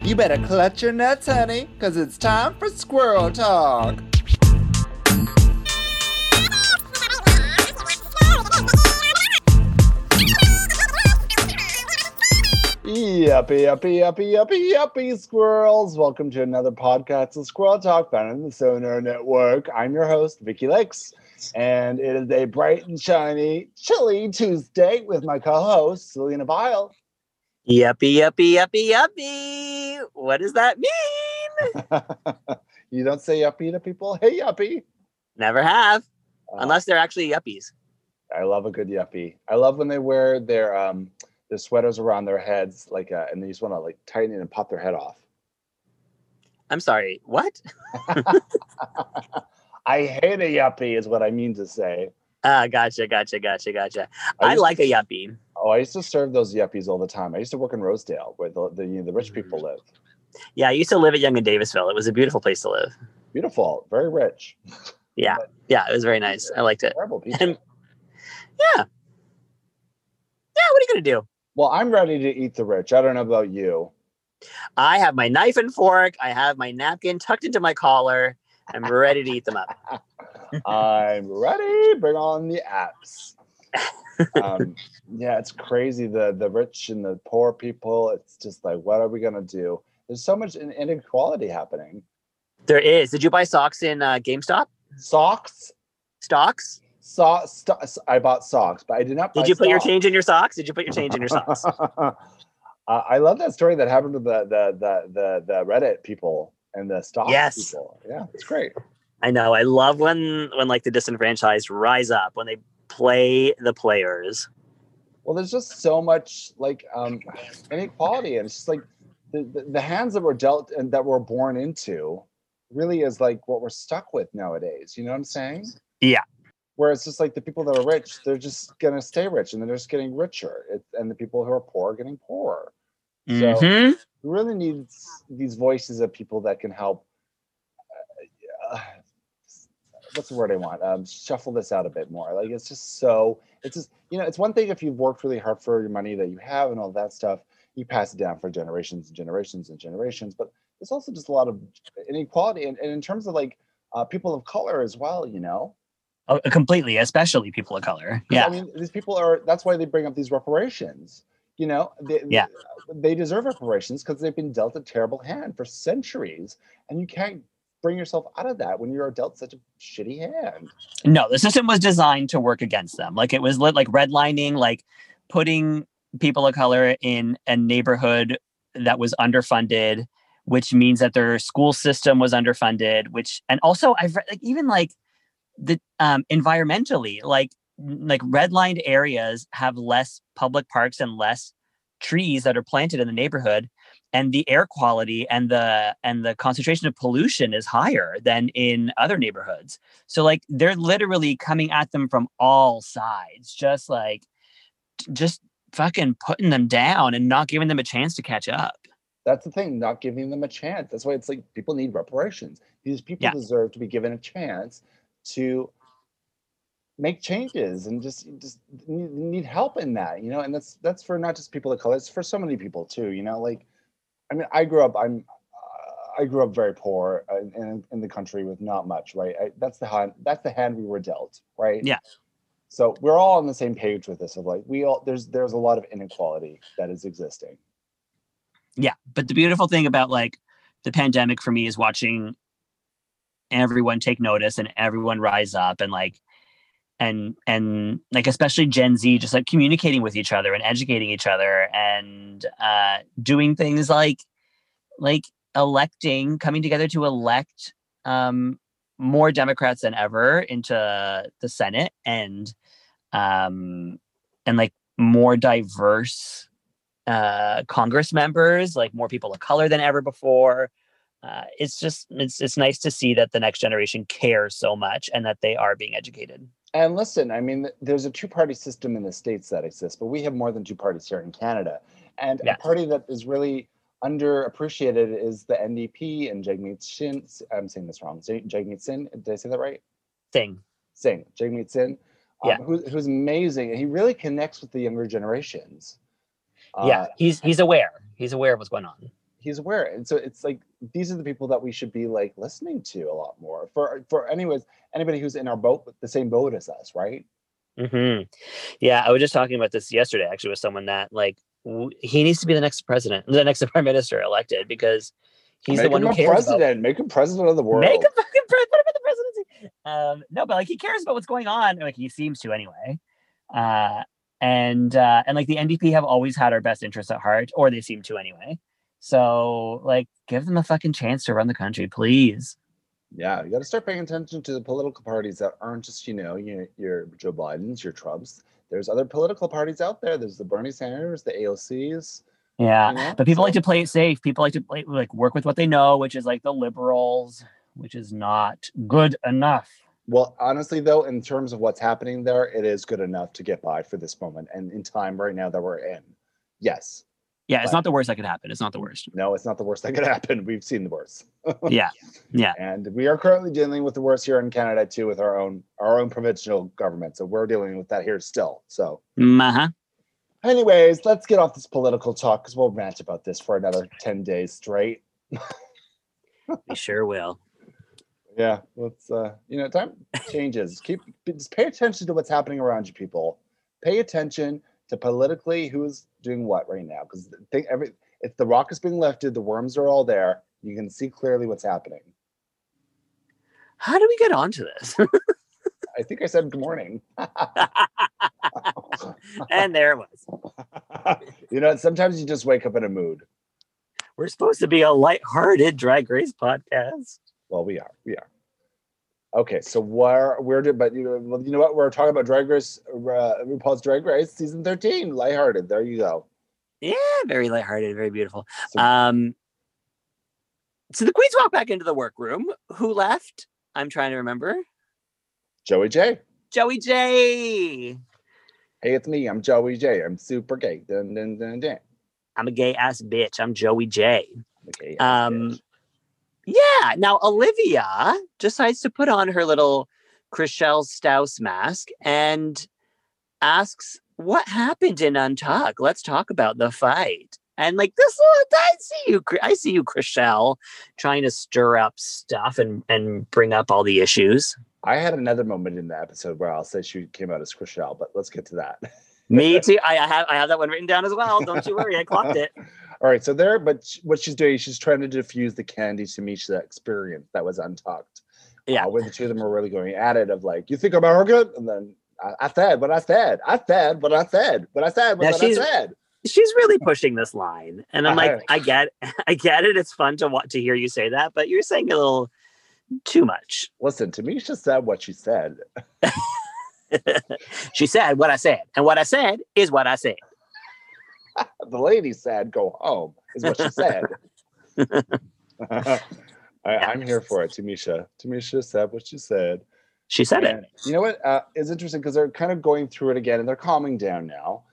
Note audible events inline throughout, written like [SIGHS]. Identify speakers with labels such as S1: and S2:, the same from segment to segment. S1: You better clutch your nuts, honey, because it's time for squirrel talk. Yuppie, yuppie, yuppie, yuppie, yuppie, squirrels. Welcome to another podcast of Squirrel Talk found on the Sonar Network. I'm your host, Vicky Lakes, and it is a bright and shiny, chilly Tuesday with my co host, Selena Vile.
S2: Yuppie, yuppie, yuppie, yuppie. What does that mean?
S1: [LAUGHS] you don't say yuppie to people. Hey, yuppie.
S2: Never have,
S1: Uh,
S2: unless they're actually yuppies.
S1: I love a good yuppie. I love when they wear their um their sweaters around their heads, like, uh, and they just want to like tighten it and pop their head off.
S2: I'm sorry. What?
S1: I hate a yuppie, is what I mean to say.
S2: Ah, gotcha, gotcha, gotcha, gotcha.
S1: I
S2: I
S1: used-
S2: like a yuppie.
S1: Oh, I used to serve those yuppies all the time. I used to work in Rosedale, where the the, you know, the rich
S2: Mm-hmm.
S1: people live.
S2: Yeah, I used to live at Young and Davisville. It was a beautiful place to live.
S1: Beautiful, very rich,
S2: Yeah, it was very nice. I liked it.
S1: terrible people.
S2: And yeah. Yeah, what are you going to do?
S1: Well, I'm ready to eat the rich. I don't know about you.
S2: I have my knife and fork. I have my napkin tucked into my collar. I'm ready to eat them up. [LAUGHS]
S1: I'm ready. Bring on the apps.
S2: [LAUGHS]
S1: Um, yeah, it's crazy. The the rich and the poor people. It's just like, what are we gonna do? There's so much in- inequality happening.
S2: There is. Did you buy socks in uh, GameStop?
S1: Socks,
S2: Stocks?
S1: so, sto- I bought socks, but I did not.
S2: Did
S1: buy
S2: you put your
S1: socks.
S2: change in your socks? Did you put your change in your
S1: [LAUGHS]
S2: socks?
S1: uh, I love that story that happened to the the the the, the Reddit people and the stock
S2: Yes.
S1: people. Yeah, it's great.
S2: I know. I love when when like the disenfranchised rise up when they play the players.
S1: Well, there's just so much like um, inequality, and it's just like the, the, the hands that were dealt and that we're born into really is like what we're stuck with nowadays. You know what I'm saying?
S2: Yeah.
S1: Where it's just like the people that are rich, they're just gonna stay rich, and they're just getting richer, it, and the people who are poor are getting poorer. So-
S2: Mhm.
S1: we really need s- these voices of people that can help. Uh, yeah, what's the word I want? Um, shuffle this out a bit more. Like it's just so. It's just you know, it's one thing if you've worked really hard for your money that you have and all that stuff. You pass it down for generations and generations and generations. But there's also just a lot of inequality, and, and in terms of like uh, people of color as well. You know,
S2: Oh, completely, especially people of color.
S1: 'Cause, I mean, these people are. That's why they bring up these reparations. You know, they,
S2: Yeah.
S1: they deserve reparations because they've been dealt a terrible hand for centuries, and you can't bring yourself out of that when you're dealt such a shitty hand.
S3: No, the system was designed to work against them. Like it was lit, like redlining, like putting people of color in a neighborhood that was underfunded, which means that their school system was underfunded. Which and also I've read, like even like the um, environmentally, like n- like redlined areas have less public parks and less trees that are planted in the neighborhood and the air quality and the and the concentration of pollution is higher than in other neighborhoods so like they're literally coming at them from all sides, just like t- just fucking putting them down and not giving them a chance to catch up.
S1: That's the thing, not giving them a chance. That's why it's like people need reparations. These people
S3: Yeah.
S1: deserve to be given a chance to make changes and just just need, need help in that, you know. And that's that's for not just people of color. It's for so many people too, you know. Like, I mean, I grew up. I'm uh, I grew up very poor uh, in in the country with not much, right? I, that's the hand that's the hand we were dealt, right?
S3: Yeah.
S1: So we're all on the same page with this of like we all there's there's a lot of inequality that is existing.
S3: Yeah. But the beautiful thing about like the pandemic for me is watching everyone take notice and everyone rise up and like and and like especially Gen Z just like communicating with each other and educating each other and uh doing things like like electing coming together to elect um more Democrats than ever into the Senate and um and like more diverse uh Congress members, like more people of color than ever before. Uh, it's just it's it's nice to see that the next generation cares so much and that they are being educated.
S1: And listen, I mean, th- there's a two party system in the states that exists, but we have more than two parties here in Canada. And
S3: Yeah.
S1: a party that is really underappreciated is the NDP and Jagmeet Singh. I'm saying this wrong. Jag- Jagmeet Singh. Did I say that right?
S3: Thing.
S1: Singh. Jagmeet Singh. Um,
S3: Yeah.
S1: who- who's amazing. and He really connects with the younger generations.
S3: yeah,
S1: Uh,
S3: he's he's aware. He's aware of what's going on.
S1: he's aware and so it's like these are the people that we should be like listening to a lot more for for anyways anybody who's in our boat the same boat as us right
S3: hmm Yeah, I was just talking about this yesterday, actually, with someone that like w- he needs to be the next president, the next [LAUGHS] prime minister elected, because he's
S1: make
S3: the one
S1: him
S3: who
S1: a
S3: cares.
S1: president make him president of the
S3: About,
S1: world
S3: make a fucking president. What about the presidency? Um, no, but like he cares about what's going on. Like he seems to anyway. Uh, and uh, and like the NDP have always had our best interests at heart, or they seem to anyway. So like, give them a fucking chance to run the country, please.
S1: Yeah, you got to start paying attention to the political parties that aren't just you know your, your Joe Biden's, your Trumps. There's other political parties out there. There's the Bernie Sanders, the AOCs.
S4: Yeah.
S1: you know?
S4: But people like
S1: So-
S4: to play it safe. People like to play, like work with what they know, which is like the liberals, which is not good enough.
S1: Well, honestly, though, in terms of what's happening there, it is good enough to get by for this moment and in time right now that we're in. Yes.
S4: Yeah, it's
S1: Right.
S4: not the worst that could happen. It's not the worst.
S1: No, it's not the worst that could happen. We've seen the worst. [LAUGHS]
S4: Yeah. Yeah.
S1: And we are currently dealing with the worst here in Canada too, with our own our own provincial government. So we're dealing with that here still. So
S4: Mm, Uh-huh.
S3: Mm-hmm.
S1: Anyways, let's get off this political talk because we'll rant about this for another 10 days straight.
S3: We sure will.
S1: Yeah, let's, uh, you know, time changes. Keep just pay attention to what's happening around you, people. Pay attention to politically who's doing what right now because think every if the rock is being lifted, the worms are all there. You can see clearly what's happening.
S3: How do we get onto this? [LAUGHS]
S1: I think I said good morning. [LAUGHS]
S3: and there it was.
S1: you know, sometimes you just wake up in a mood.
S3: We're supposed to be a light-hearted drag race podcast.
S1: Well, we are. We are. Okay, so where where did but you know, well, you know what we're talking about Drag Race uh, RuPaul's Drag Race season thirteen, lighthearted. There you go.
S3: Yeah, very lighthearted, very [LAUGHS] beautiful.
S1: So,
S3: Um so the queens walk back into the workroom. Who left? I'm trying to remember.
S1: Joey J.
S3: Joey J.
S1: Hey, it's me. I'm Joey J. I'm super gay. Dun, dun, dun, dun.
S3: I'm a gay ass bitch. I'm Joey J.
S1: Okay.
S3: Um, yeah. Now Olivia decides to put on her little Chriselle Staus mask and asks, "What happened in Untuck? Let's talk about the fight." And like this, little, I see you, Chr- I see you, Chriselle, trying to stir up stuff and and bring up all the issues.
S1: I had another moment in the episode where I'll say she came out as Chriselle, but let's get to that.
S3: Me too. I, I have I have that one written down as well. Don't you worry, I clocked it.
S1: All right, so there, but sh- what she's doing, she's trying to diffuse the Candy Tamisha experience that was untucked.
S3: Yeah.
S1: uh, where the two of them are really going at it of like, you think I'm arrogant? And then I, I said what I said. I said what I said. What I said.
S3: Now
S1: What I
S3: she's-
S1: said.
S3: she's really pushing this line and i'm like
S1: Uh-huh.
S3: i get [LAUGHS] i get it it's fun to want to hear you say that but you're saying a little too much
S1: Listen, Tamisha said what she said.
S3: she said what i said and what i said is what i said
S1: The lady said, "Go home," is what she
S3: [LAUGHS]
S1: said. [LAUGHS] I, I'm here for it, Tamisha. Tamisha said what she said.
S3: she said it
S1: And you know what uh, is interesting because they're kind of going through it again and they're calming down now.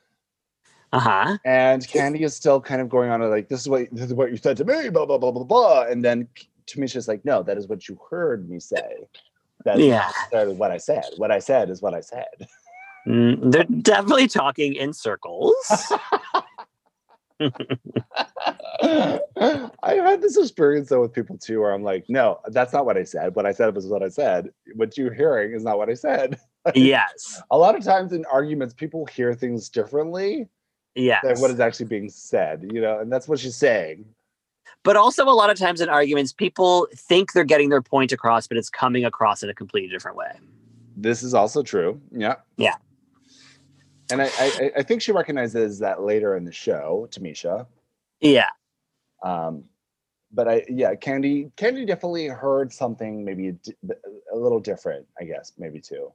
S3: uh-huh
S1: And Candy is still kind of going on like this is what this is what you said to me, blah blah blah blah blah. And then Tamisha's like, no, that is what you heard me say. That's
S3: yeah
S1: necessarily what I said. What I said is what I
S3: [LAUGHS]
S1: said.
S3: Mm, they're definitely talking
S1: [LAUGHS]
S3: in circles
S1: I've had this experience though with people too, where I'm like, no, that's not what I said. What I said was what I said. What you're hearing is not what I said.
S3: yes
S1: A lot of times in arguments, people hear things differently
S3: yes
S1: than what is actually being said, you know, and that's what she's saying.
S3: but also a lot of times in arguments people think they're getting their point across but it's coming across in a completely different way
S1: This is also true. Yeah.
S3: Yeah.
S1: And I, I, I- I think she recognizes that later in the show, Tamisha.
S3: yeah
S1: Um, but I, yeah, Candy, Candy definitely heard something maybe a di- a little different, I guess, maybe too.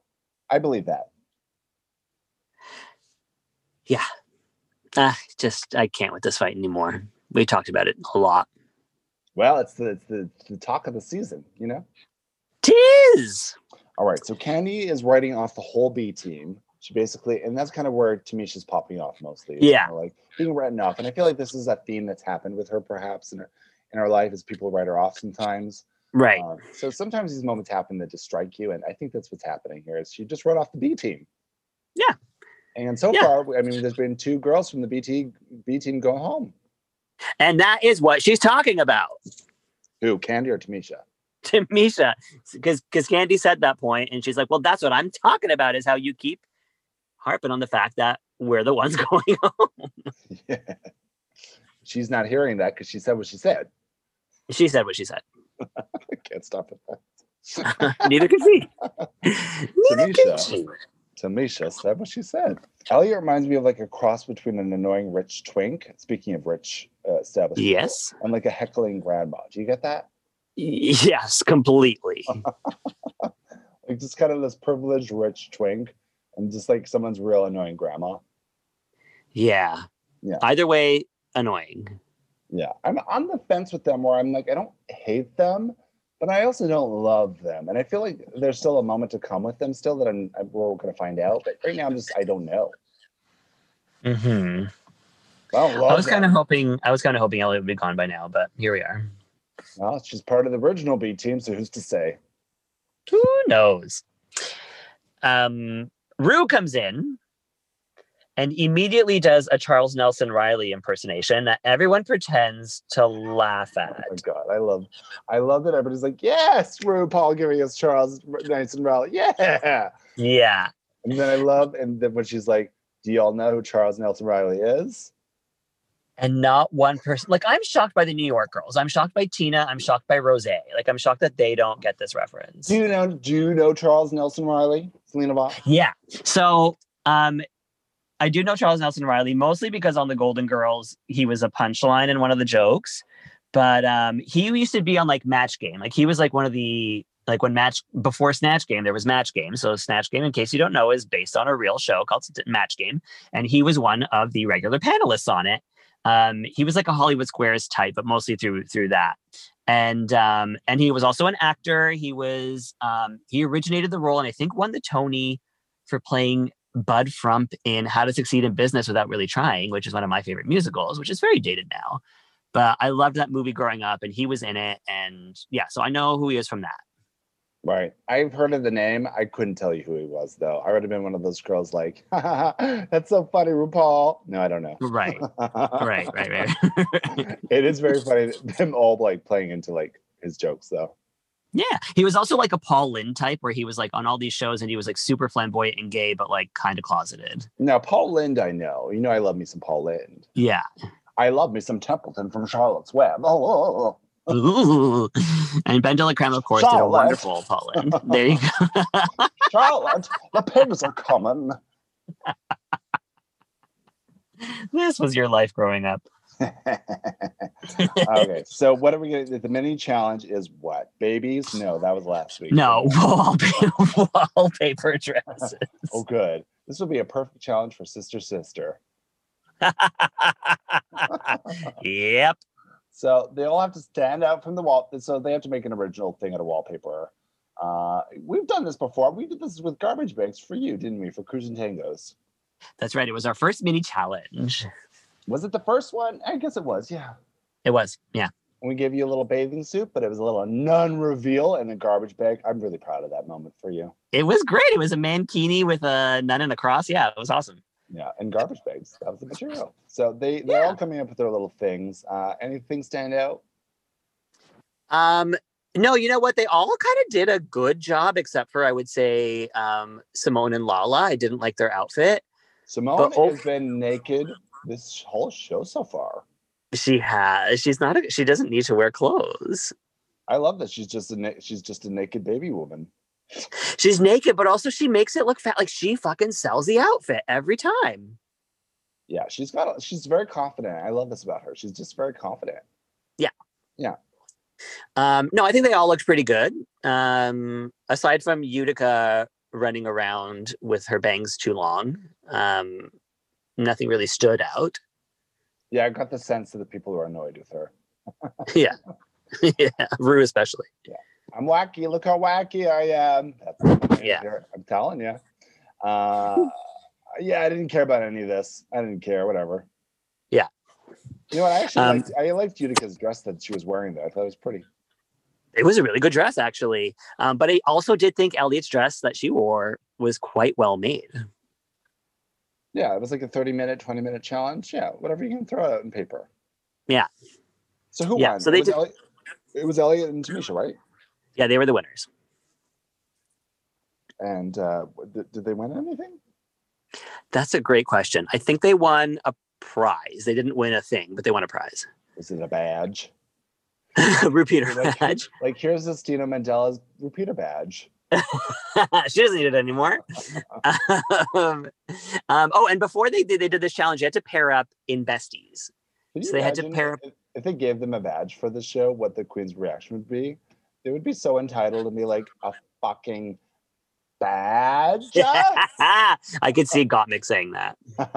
S1: I believe that.
S3: uh, just i can't with this fight anymore we talked about it a lot
S1: Well, it's the, it's the the talk of the season, you know.
S3: tis
S1: All right, so Candy is writing off the whole B team. She basically, and that's kind of where Tamisha's popping off mostly. is
S3: Yeah.
S1: kinda like being written off, and I feel like this is a theme that's happened with her perhaps in her in her life, is people write her off sometimes.
S3: Right.
S1: Uh, so sometimes these moments happen that just strike you, and I think that's what's happening here. Is she just wrote off the B team?
S3: Yeah.
S1: And so
S3: Yeah.
S1: far, I mean, there's been two girls from the B team B team go home.
S2: And that is what she's talking about.
S1: Who, Candy or Tamisha? [LAUGHS]
S2: [LAUGHS] to Misha because because Candy said that point, and she's like, "Well, that's what I'm talking about is how you keep harping on the fact that we're the ones [LAUGHS] going home."
S1: Yeah. She's not hearing that because she said what she said. [LAUGHS]
S2: She said what she said.
S1: I can't stop it.
S2: Neither could she. Neither could
S1: Tamisha.
S2: she.
S1: Tamisha said what she said. Elliot reminds me of like a cross between an annoying rich twink, speaking of rich uh, establishment,
S2: Yes.
S1: and like a heckling grandma. Do you get that?
S2: Yes, completely.
S1: Like just kind of this privileged rich twink and just like someone's real annoying grandma.
S2: Yeah.
S1: Yeah.
S2: Either way, annoying.
S1: Yeah, I'm on the fence with them where I'm like, I don't hate them, but I also don't love them. And I feel like there's still a moment to come with them still that I'm, I'm we're going to find out. But right now, I'm just, I don't know.
S3: Mm-hmm.
S1: I don't love
S3: I was
S1: them.
S3: kind of hoping. I was kind of hoping Elliot would be gone by now, but here we are.
S1: Well, she's part of the original B team, so who's to say?
S3: Who knows? Um, Rue comes in and immediately does a Charles Nelson Riley impersonation that everyone pretends to laugh at.
S1: Oh my God, I love, I love that everybody's like, yes, RuPaul giving us Charles Nice and Raleigh, yeah.
S3: Yeah.
S1: And then I love, and then when she's like, do y'all know who Charles Nelson Riley is?
S3: And not one person, like, I'm shocked by the New York girls. I'm shocked by Tina. I'm shocked by Rose. Like, I'm shocked that they don't get this reference.
S1: Do you know? Do you know Charles Nelson Riley? Selena Vaughn.
S3: Yeah. So um I do know Charles Nelson Riley mostly because on the Golden Girls he was a punchline in one of the jokes. But um he used to be on like Match Game. Like he was like one of the like when match before Snatch Game, there was Match Game. So Snatch Game, in case you don't know, is based on a real show called S- Match Game, and he was one of the regular panelists on it. Um, he was like a Hollywood Squares type, but mostly through through that. And um, and he was also an actor. He was um, he originated the role, and I think won the Tony for playing Bud Frump in How to Succeed in Business Without Really Trying, which is one of my favorite musicals, which is very dated now. But I loved that movie growing up, and he was in it. And yeah, so I know who he is from that.
S1: Right. I've heard of the name. I couldn't tell you who he was, though. I would have been one of those girls like, [LAUGHS] that's so funny, RuPaul. No, I don't know.
S3: Right, right, right, right.
S1: [LAUGHS]
S3: [LAUGHS]
S1: it is very funny. Them all like playing into like his jokes, though.
S3: Yeah, he was also like a Paul Lynn type, where he was like on all these shows, and he was like super flamboyant and gay, but like kind of closeted.
S1: Now, Paul Lind, I know. You know, I love me some Paul Lind.
S3: Yeah.
S1: I love me some Templeton from Charlotte's Web. Oh, oh,
S3: Ooh. And Ben De La Creme, of course, did a
S1: Charlotte.
S3: wonderful Paul Lynn. There you go.
S1: oh. Charlotte, the pigs are coming. [LAUGHS]
S3: [LAUGHS] This was your life growing up.
S1: okay, so what are we going to The mini challenge is what? Babies? No, that was last week.
S3: No, [LAUGHS] wallpaper, [LAUGHS] wallpaper dresses.
S1: Oh, good. This will be a perfect challenge for Sister Sister.
S3: yep.
S1: So they all have to stand out from the wall. So they have to make an original thing out of wallpaper. Uh, we've done this before. We did this with garbage bags for you, didn't we? For cruising tangos.
S3: That's right. It was our first mini challenge.
S1: Was it the first one? I guess it was. Yeah.
S3: It was. Yeah.
S1: And we gave you a little bathing suit, but it was a little nun reveal and a garbage bag. I'm really proud of that moment for you.
S3: It was great. It was a mankini with a nun and a cross. Yeah, it was awesome.
S1: Yeah, and garbage bags. That was the material. So they they're all coming up with their little things. Uh, anything stand out?
S2: Um, no, you know what? They all kind of did a good job, except for I would say um, Simone and Lala. I didn't like their outfit.
S1: Simone
S2: But-
S1: has been naked this whole show so far.
S2: She has. She's not. A, she doesn't need to wear clothes.
S1: I love that she's just a na- she's just a naked baby woman.
S2: She's naked, but also she makes it look fat. Like she fucking sells the outfit every time.
S1: Yeah, she's got a, she's very confident. I love this about her. She's just very confident.
S2: Um, no, I think they all looked pretty good. Um, aside from Utica running around with her bangs too long, um, nothing really stood out. [LAUGHS]
S1: Yeah, I got the sense of the people who are annoyed with her.
S2: yeah, [LAUGHS] Rue especially.
S1: I'm wacky. Look how wacky I am. That's
S2: Yeah.
S1: I'm telling you. Uh, yeah, I didn't care about any of this. I didn't care. Whatever.
S2: Yeah.
S1: You know what? I actually
S2: Um,
S1: liked, I liked Utica's dress that she was wearing though. I thought it was pretty.
S2: It was a really good dress, actually. Um, but I also did think Elliot's dress that she wore was quite well made.
S1: Yeah, it was like a 30 minute, 20 minute challenge. Yeah, whatever you can throw out on paper.
S3: Yeah.
S1: So who
S3: Yeah,
S1: won?
S3: so they
S1: it was,
S3: did-
S1: Elliot, it was Elliot and Tamisha, right?
S3: Yeah, they were the winners.
S1: And uh, did, did they win anything?
S3: That's a great question. I think they won a prize. They didn't win a thing, but they won
S2: [LAUGHS]
S3: a prize.
S1: Is it a badge?
S3: Repeater
S1: Like-
S3: badge.
S1: Like here's this Dino Mandela's repeater badge.
S3: [LAUGHS] she doesn't need it anymore. um, um, oh, and before they did, they did this challenge. They had to pair up in besties. [LAUGHS]
S1: Can
S3: So
S1: you
S3: they had to
S1: imagine
S3: pair up-
S1: if- If they gave them a badge for the show, what the queen's reaction would be? They would be so entitled and be like, a fucking
S3: [LAUGHS]
S1: badge.
S3: I could see Gottmik saying that.
S1: [LAUGHS]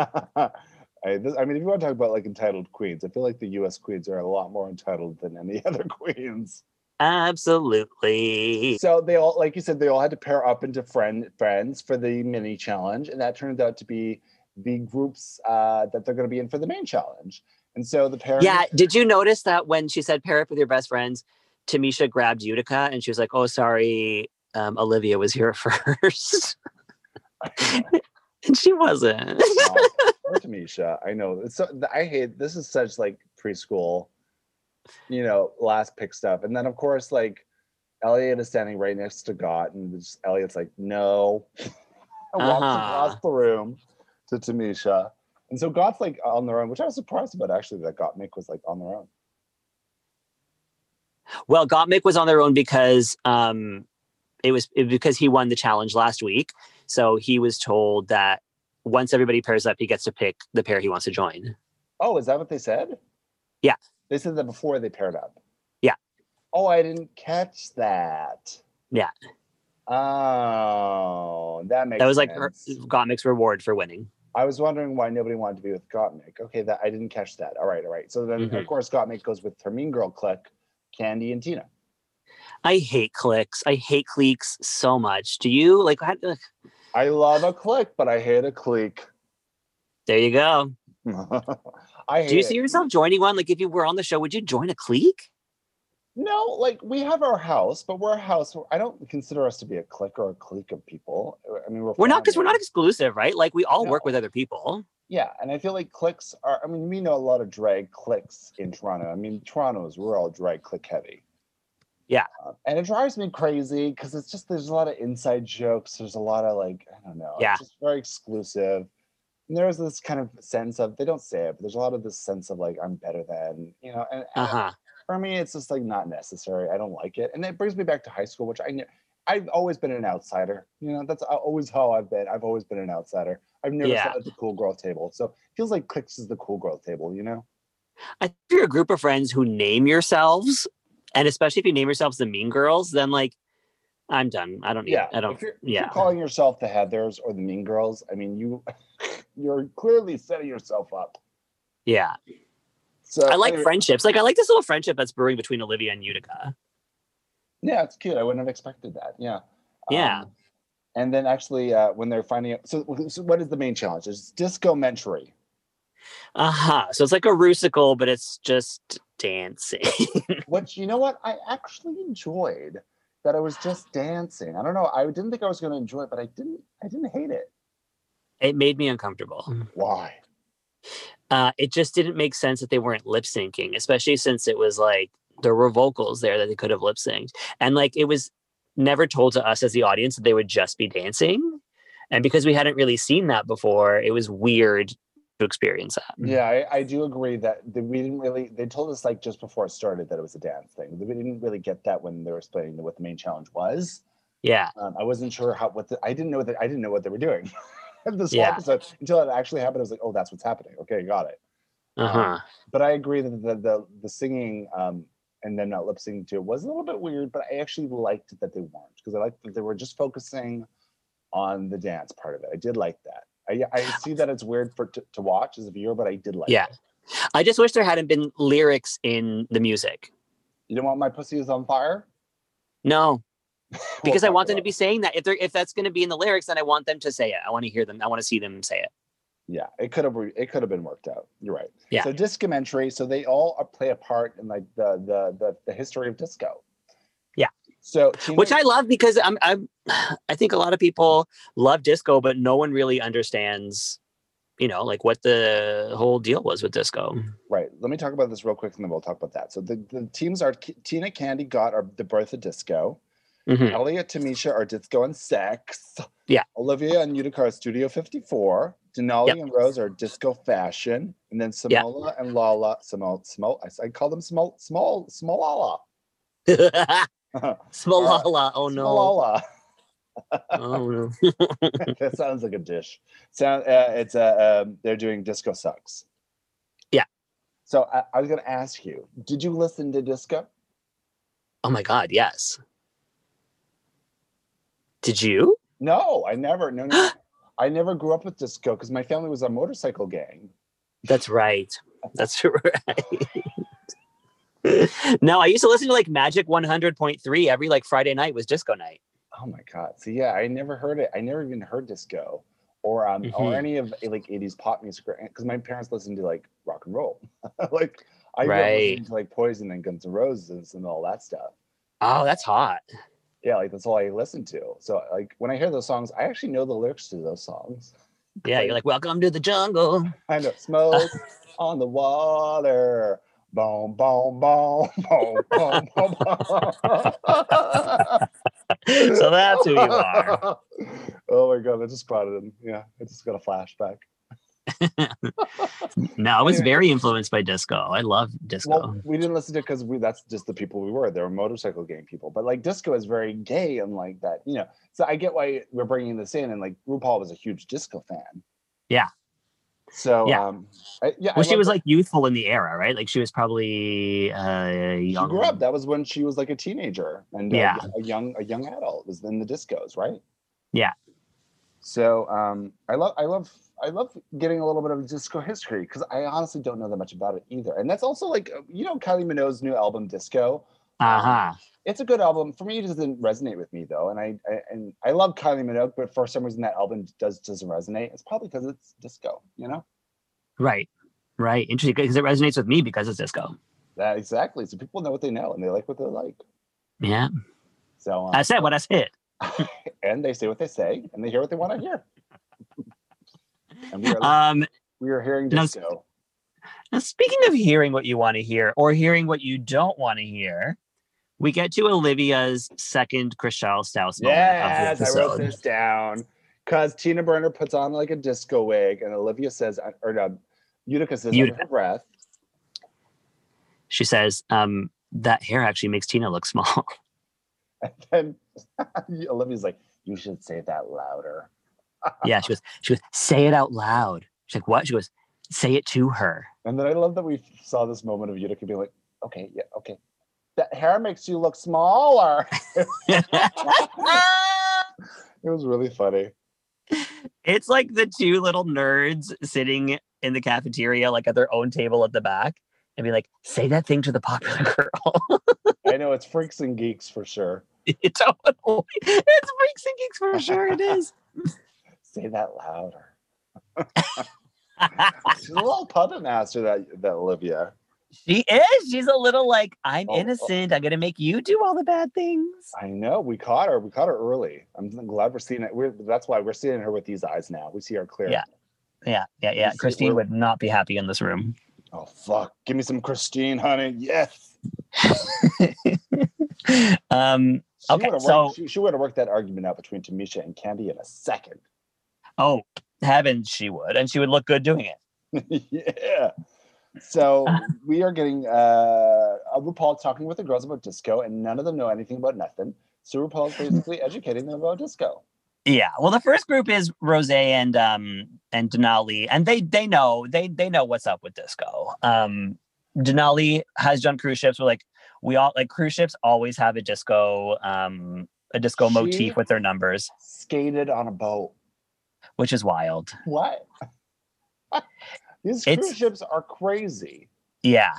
S1: I, this, I mean, if you want to talk about like entitled queens, I feel like the U.S. queens are a lot more entitled than any [LAUGHS] other queens.
S3: Absolutely.
S1: So they all, like you said, they all had to pair up into friend friends for the mini challenge, and that turned out to be the groups uh, that they're going to be in for the main challenge. And so the pair,
S3: Yeah. Did you notice that when she said pair up with your best friends, Tamisha grabbed Utica and she was like, oh, sorry, um, Olivia was here [LAUGHS] first. [LAUGHS] and she wasn't.
S1: or Tamisha, I know. It's so, I hate this is such like preschool, you know, last pick stuff, and then of course like Elliot is standing right next to Gott, and it's- Elliot's like, no, [LAUGHS] and walks
S3: Uh-huh.
S1: across the room to Tamisha, and so Gott's like on their own, which I was surprised about actually that Gott Mick was like on their own.
S3: Well, Gottmik was on their own because um, it was it, because he won the challenge last week. So he was told that once everybody pairs up, he gets to pick the pair he wants to join.
S1: Oh, is that what they said?
S3: Yeah.
S1: They said that before they paired up.
S3: Yeah.
S1: Oh, I didn't catch that.
S3: Yeah.
S1: Oh, that makes
S3: That was like her-
S1: sense.
S3: Gottmik's reward for winning.
S1: I was wondering why nobody wanted to be with Gottmik. Okay, that I didn't catch that. All right, all right. So then, of
S3: Mhm.
S1: course, Gottmik goes with her mean girl clique, Candy and Tina.
S3: I hate clicks. I hate cliques so much. Do you like? I- ugh.
S1: I love a clique, but I hate a clique. [LAUGHS]
S3: There you go.
S1: I hate
S3: Do you
S1: it.
S3: see yourself joining one? Like, if you were on the show, would you join a clique?
S1: No, like we have our house, but we're a house. I don't consider us to be a clique or a clique of people. I mean, we're
S3: We're not because we're
S1: family.
S3: not exclusive, right? Like, we all work
S1: No.
S3: with other people.
S1: Yeah, and I feel like clicks are. I mean, we know a lot of drag clicks in Toronto. I mean, Toronto's we're all drag click heavy.
S3: Yeah.
S1: Uh, and it drives me crazy because it's just there's a lot of inside jokes. There's a lot of like I don't know.
S3: Yeah.
S1: It's just very exclusive. And there's this kind of sense of they don't say it, but there's a lot of this sense of like I'm better than you know. And,
S3: Uh
S1: and
S3: huh.
S1: for me, it's just like not necessary. I don't like it, and that brings me back to high school, which I knew. I've always been an outsider. You know, that's always how I've been. I've always been an outsider. I've never
S3: Yeah.
S1: sat at the cool girl table, so it feels like clicks is the cool girl table. You know?
S3: I think if you're a group of friends who name yourselves, and especially if you name yourselves the mean girls, then like I'm done. I don't need I don't
S1: If you're, if
S3: yeah.
S1: you're calling yourself the Heather's or the Mean Girls, I mean, you [LAUGHS] you're clearly setting yourself up.
S3: yeah.
S1: So
S3: I like
S1: anyway,
S3: friendships. Like I like this little friendship that's brewing between Olivia and Utica.
S1: Yeah, it's cute. I wouldn't have expected that. Yeah.
S3: Yeah.
S1: Um, and then actually, uh, when they're finding out, so, so what is the main challenge? It's disco mentory.
S3: Uh-huh. So it's like a rusical, but it's just dancing. [LAUGHS]
S1: which you know what I actually enjoyed that I was just dancing. I don't know. I didn't think I was going to enjoy it, but I didn't. I didn't hate it.
S3: it made me uncomfortable.
S1: Why?
S3: Uh it just didn't make sense that they weren't lip syncing, especially since it was like there were vocals there that they could have lip synced. And like it was never told to us as the audience that they would just be dancing. And because we hadn't really seen that before, it was weird to experience that.
S1: Yeah, I, I do agree that the, we didn't really. They told us like just before it started that it was a dance thing. We didn't really get that when they were explaining what the main challenge was.
S3: Yeah.
S1: Um, I wasn't sure how what the, I didn't know that I didn't know what they were doing. [LAUGHS] this whole
S3: Yeah.
S1: episode until it actually happened. I was like, oh, that's what's happening. Okay, got it.
S3: Uh huh.
S1: but I agree that the the, the singing um, and them not lip syncing to it was a little bit weird, but I actually liked that they weren't because I liked that they were just focusing on the dance part of it. I did like that. I, I see that it's weird for to, to watch as a viewer, but I did like
S3: Yeah.
S1: it.
S3: I just wish there hadn't been lyrics in the music.
S1: You don't want my pussy is on fire
S3: No,
S1: We'll
S3: because I
S1: talk
S3: want them to
S1: about
S3: be
S1: it.
S3: saying that. If they're if that's going to be in the lyrics, then I want them to say it. I want to hear them. I want to see them say it.
S1: Yeah, it could have re- it could have been worked out. You're right.
S3: Yeah.
S1: So discomentary. So they all are- play a part in like the the the, the history of disco.
S3: Yeah.
S1: So Tina,
S3: Which I love because I'm I'm I think a lot of people love disco, but no one really understands you know, like what the whole deal was with disco.
S1: Right. Let me talk about this real quick, and then we'll talk about that. So the, the teams are K- Tina Candy got are the birth of disco.
S3: Mhm.
S1: Elliot Tamisha are disco and sex.
S3: Yeah.
S1: Olivia and Utica are Studio 54. Denali and Rose are disco fashion, and then
S3: Yeah.
S1: Samola and Lala. Samo Samo. I, I call them Small Small Smolala.
S3: Mm-hmm. [LAUGHS] Smalala. Oh no. [LAUGHS]
S1: Smolala.
S3: Oh no.
S1: [LAUGHS] that sounds like a dish. Sound uh, it's uh, um, they're doing disco sucks.
S3: Yeah.
S1: So I, I was gonna ask you, did you listen to disco?
S3: Oh my god, yes. Did you?
S1: No, I never. No, no. I never grew up with disco because my family was a motorcycle gang.
S3: That's right. That's [LAUGHS] right. no, I used to listen to like Magic 100.3 every like Friday night was disco night.
S1: Oh my god. So yeah, I never heard it. I never even heard disco or um or
S3: Mhm.
S1: any of like 80s pop music because my parents listened to like rock and roll. [LAUGHS] like I grew up
S3: Right.
S1: listening to like Poison and Guns N' Roses and all that stuff.
S3: Oh, that's hot.
S1: yeah, like that's all I listen to. So like when I hear those songs, I actually know the lyrics to those songs.
S3: Yeah, you're like, welcome to the jungle.
S1: I know smoke on the water, boom, boom, boom, [LAUGHS] boom, boom, boom, boom.
S3: [LAUGHS] so that's who you are.
S1: [LAUGHS] Oh my god, I just brought it in. Yeah, I just got a flashback.
S3: No, I was very influenced by disco. I love disco.
S1: Well, we didn't listen to it because we that's just the people we were. They were motorcycle gang people. But like disco is very gay and like that, you know. So I get why we're bringing this in. And like RuPaul was a huge disco fan.
S3: Yeah.
S1: So
S3: Yeah.
S1: um, I, yeah.
S3: well,
S1: I
S3: she
S1: love
S3: was
S1: that.
S3: like youthful in the era, right? Like she was probably uh, young.
S1: she grew up. That was when she was like a teenager and uh,
S3: Yeah.
S1: a young a young adult. It was in the discos, right?
S3: Yeah.
S1: So um, I love I love I love getting a little bit of disco history because I honestly don't know that much about it either. And that's also like uh, you know Kylie Minogue's new album Disco.
S3: Uh huh.
S1: It's a good album for me. It doesn't resonate with me though, and I, I and I love Kylie Minogue, but for some reason that album does doesn't resonate. It's probably because it's disco, you know.
S3: Right. Right. Interesting. Because it resonates with me because it's disco.
S1: That exactly. So people know what they know and they like what they like.
S3: Yeah.
S1: So um,
S3: I said what I said.
S1: and they say what they say and they hear what they want to
S3: [LAUGHS]
S1: hear. and we are,
S3: Um,
S1: we are hearing
S3: no,
S1: disco.
S3: Now, speaking of hearing what you want to hear or hearing what you don't want to hear, we get to Olivia's second Chriselle Stouse moment of
S1: yes,
S3: the
S1: I wrote
S3: episode.
S1: this down because Tina Burner puts on like a disco wig and Olivia says, uh, or no, Utica says under
S3: Utica.
S1: her breath.
S3: She says, um, that hair actually makes Tina look small. [LAUGHS]
S1: And [LAUGHS] Olivia's like, you should say that louder.
S3: yeah, she goes, she goes, say it out loud. She's like, what? She goes, say it to her. [LAUGHS]
S1: And then I love that we saw this moment of Utica being like, okay, yeah, okay. That hair makes you look smaller. [LAUGHS] It was really funny.
S3: it's like the two little nerds sitting in the cafeteria, like at their own table at the back, and be like, say that thing to the popular [LAUGHS] girl.
S1: I know it's freaks and geeks for sure.
S3: You totally. It's Freaks and Geeks for sure. It is.
S1: Say that
S3: [LAUGHS]
S1: louder. She's a little puppet master, that that Olivia.
S3: she is. She's a little like I'm
S1: Oh, oh.
S3: innocent. I'm gonna make you do all the bad things.
S1: I know we caught her. We caught her early. I'm glad we're seeing it. We're, that's why we're seeing her with these eyes now. We see her clear.
S3: Yeah. Yeah, yeah,
S1: You
S3: yeah.
S1: see,
S3: Christine
S1: we're-
S3: would not be happy in this room.
S1: Oh fuck! Give me some Christine, honey. Yes.
S3: um.
S1: She
S3: Okay,
S1: would've
S3: so-
S1: worked, she, she would have worked that argument out between Tamisha and Candy in a second. [LAUGHS]
S3: Oh, heavens, she would, and she would look good doing it.
S1: yeah. So
S3: Uh-huh.
S1: we are getting uh, RuPaul talking with the girls about disco, and none of them know anything about nothing. So RuPaul is basically educating them about disco.
S3: Yeah. Well, the first group is Rose and um and Denali, and they they know they they know what's up with disco. Um, Denali has done cruise ships. We're like we all like cruise ships always have a disco um a disco
S1: She-
S3: motif with their numbers,
S1: Skated on a boat.
S3: which is wild.
S1: What? [LAUGHS] These
S3: It's-
S1: cruise ships are crazy.
S3: Yeah,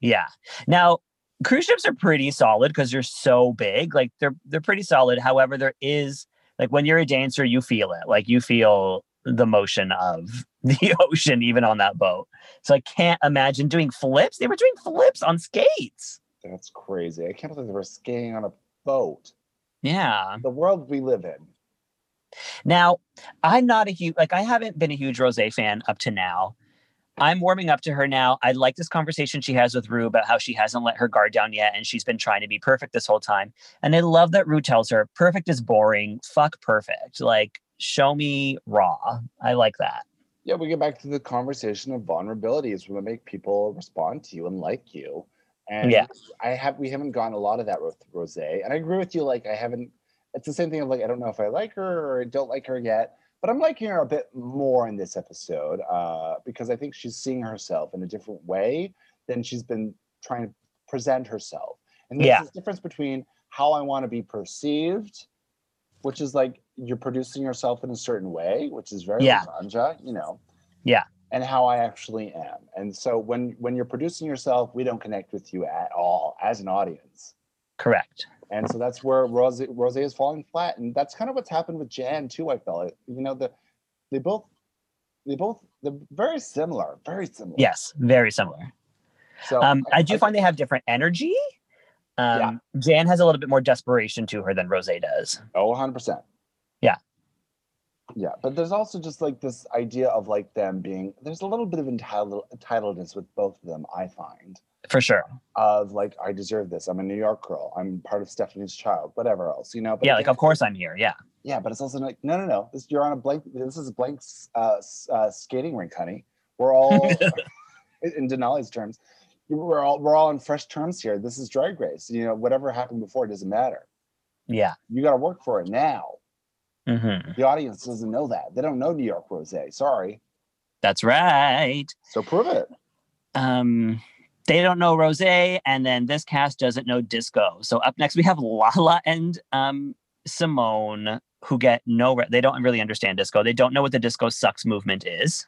S3: yeah. Now cruise ships are pretty solid because they're so big. Like they're they're pretty solid. However, there is like when you're a dancer, you feel it. Like you feel the motion of [LAUGHS] the ocean even on that boat. So I can't imagine doing flips. They were doing flips on skates.
S1: That's crazy. I can't believe they were skating on a boat.
S3: Yeah.
S1: The world we live in.
S3: Now, I'm not a huge like I haven't been a huge Rose fan up to now. I'm warming up to her now. I like this conversation she has with Rue about how she hasn't let her guard down yet and she's been trying to be perfect this whole time. And I love that Rue tells her, perfect is boring. Fuck perfect. Like, show me raw. I like that.
S1: Yeah, we get back to the conversation of vulnerability is what make people respond to you and like you. And
S3: Yeah.
S1: I have we haven't gotten a lot of that with Rose. And I agree with you, like I haven't it's the same thing of like I don't know if I like her or I don't like her yet, but I'm liking her a bit more in this episode, uh, because I think she's seeing herself in a different way than she's been trying to present herself. And there's
S3: Yeah.
S1: this difference between how I want to be perceived, which is like you're producing yourself in a certain way, which is very
S3: Yeah.
S1: Sanja, you know.
S3: Yeah.
S1: And how I actually am. And so when when you're producing yourself, we don't connect with you at all as an audience.
S3: Correct.
S1: And so that's where Rose Rose is falling flat. And that's kind of what's happened with Jan too, I felt. You know, the they both they both they're very similar, very similar.
S3: Yes, very similar.
S1: So
S3: Um, I do find they have different energy. Um, Jan has a little bit more desperation to her than Rose does.
S1: Oh, 100%.
S3: Yeah.
S1: Yeah. But there's also just like this idea of like them being, there's a little bit of entitled, entitledness with both of them, I find,
S3: For sure.
S1: of like, I deserve this. I'm a New York girl. I'm part of Stephanie's child, whatever else, you know? But
S3: yeah,
S1: again,
S3: like, of course I'm here. Yeah.
S1: Yeah. But it's also like, no, no, no. This, you're on a blank, this is a blank uh, s- uh, skating rink, honey. We're
S3: [LAUGHS]
S1: all, in in Denali's terms, we're all, we're all on fresh terms here. This is drag race. You know, whatever happened before doesn't matter.
S3: Yeah.
S1: You got to work for it now.
S3: hmm
S1: The audience doesn't know that. They don't know New York Rose. Sorry.
S3: That's right.
S1: So prove it.
S3: um they don't know rose and then this cast doesn't know disco so up next we have lala and um simone who get no re- they don't really understand disco they don't know what the disco sucks movement is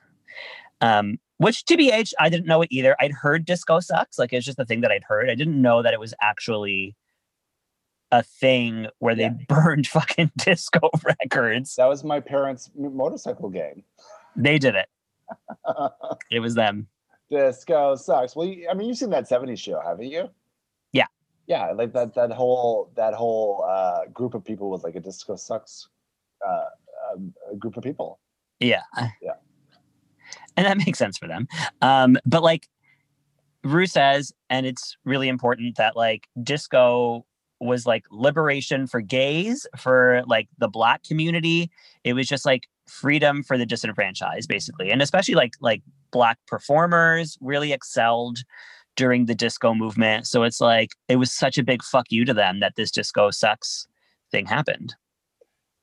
S3: um which tbh i didn't know it either i'd heard disco sucks like it's just the thing that i'd heard i didn't know that it was actually a thing where they [LAUGHS] burned fucking disco records
S1: That was my parents' m- motorcycle game.
S3: they did it it was them
S1: Disco sucks. Well, you, I mean, you've seen that '70s show, haven't you?
S3: Yeah.
S1: Yeah, like that that whole that whole uh, group of people was like a disco sucks uh, um, a group of people.
S3: Yeah.
S1: Yeah.
S3: And that makes sense for them. Um, but like Rue says, and it's really important that like disco was like liberation for gays, for like the black community. It was just like freedom for the disenfranchised, basically. And especially like like black performers really excelled during the disco movement. So it's like it was such a big fuck you to them that this disco sucks thing happened.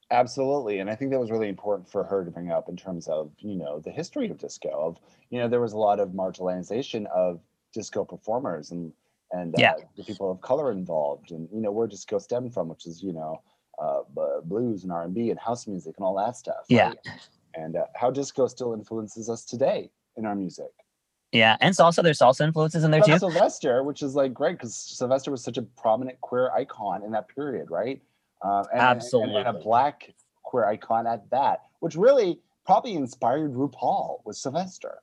S1: Absolutely, and I think that was really important for her to bring up in terms of you know the history of disco. Of you know there was a lot of marginalization of disco performers and and
S3: Yeah.
S1: uh, the people of color involved, and you know where disco stemmed from, which is you know uh, bu- blues and R and B and house music and all that stuff.
S3: Yeah.
S1: right? and uh, how disco still influences us today in our music.
S3: Yeah. And salsa, there's salsa influences in there
S1: But
S3: too.
S1: Sylvester, which is like great because Sylvester was such a prominent queer icon in that period, right? Um, and, and- and a
S3: Absolutely.
S1: black queer icon at that, which really probably inspired RuPaul was Sylvester.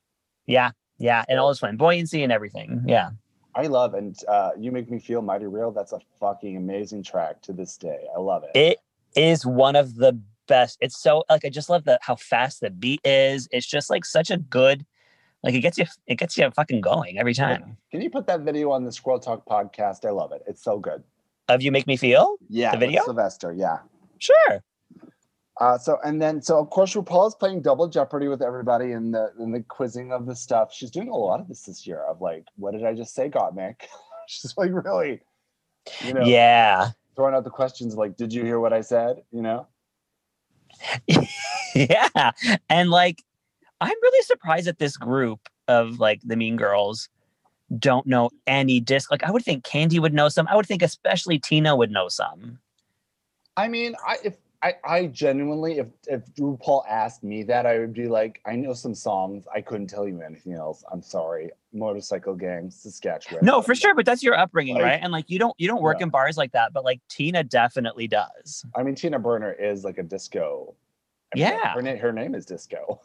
S3: Yeah, yeah, and all his flamboyancy and everything. Yeah,
S1: I love and uh, you make me feel mighty real. That's a fucking amazing track to this day. I love it.
S3: it is one of the best. It's so like I just love the how fast the beat is. It's just like such a good, like it gets you, it gets you fucking going every time.
S1: Can you put that video on the Squirrel Talk podcast? I love it. It's so good.
S3: Of you make me feel
S1: Yeah,
S3: The
S1: with
S3: video?
S1: Sylvester. Yeah.
S3: sure.
S1: Uh, so and then so of course RuPaul is playing double jeopardy with everybody in the in the quizzing of the stuff. She's doing a lot of this this year of like, what did I just say, Gottmik? [LAUGHS] She's like really, you know,
S3: Yeah,
S1: throwing out the questions like, did you hear what I said? You know,
S3: yeah, [LAUGHS] and like I'm really surprised that this group of like the Mean Girls don't know any disc. Like I would think Candy would know some. I would think especially Tina would know some.
S1: I mean, I if I I genuinely if if RuPaul asked me that, I would be like, I know some songs, I couldn't tell you anything else. I'm sorry, Motorcycle Gang, Saskatchewan.
S3: No, for sure, but that's your upbringing,
S1: Like-
S3: right? And like you don't you don't work
S1: Yeah.
S3: in bars like that, but like Tina definitely does.
S1: I mean, Tina Burner is like a disco. I mean,
S3: Yeah.
S1: her, na- her name is Disco.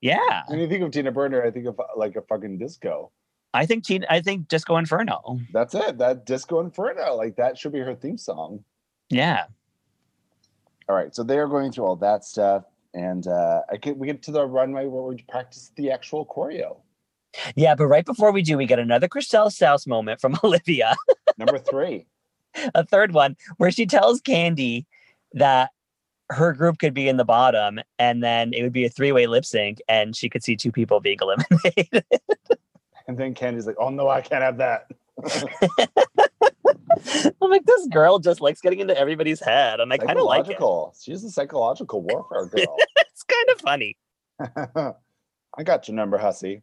S3: Yeah.
S1: When you think of Tina Burner, I think of uh, like a fucking disco.
S3: I think Tina I think Disco Inferno.
S1: That's it. That disco inferno. Like that should be her theme song.
S3: Yeah.
S1: All right, so they are going through all that stuff, and uh, I get, we get to the runway where we practice the actual choreo.
S3: Yeah, but right before we do, we get another Christelle Stouse moment from [LAUGHS] Olivia, [LAUGHS]
S1: Number three.
S3: a third one, where she tells Candy that her group could be in the bottom and then it would be a three way lip sync and she could see two people being eliminated. [LAUGHS]
S1: And then Candy's like, "Oh no, I can't have that."
S3: I'm like, this girl just likes getting into everybody's head. And I kind of like it. [LAUGHS]
S1: Psychological. She's a psychological warfare
S3: It's kind of funny.
S1: girl. [LAUGHS] I got your number, hussy.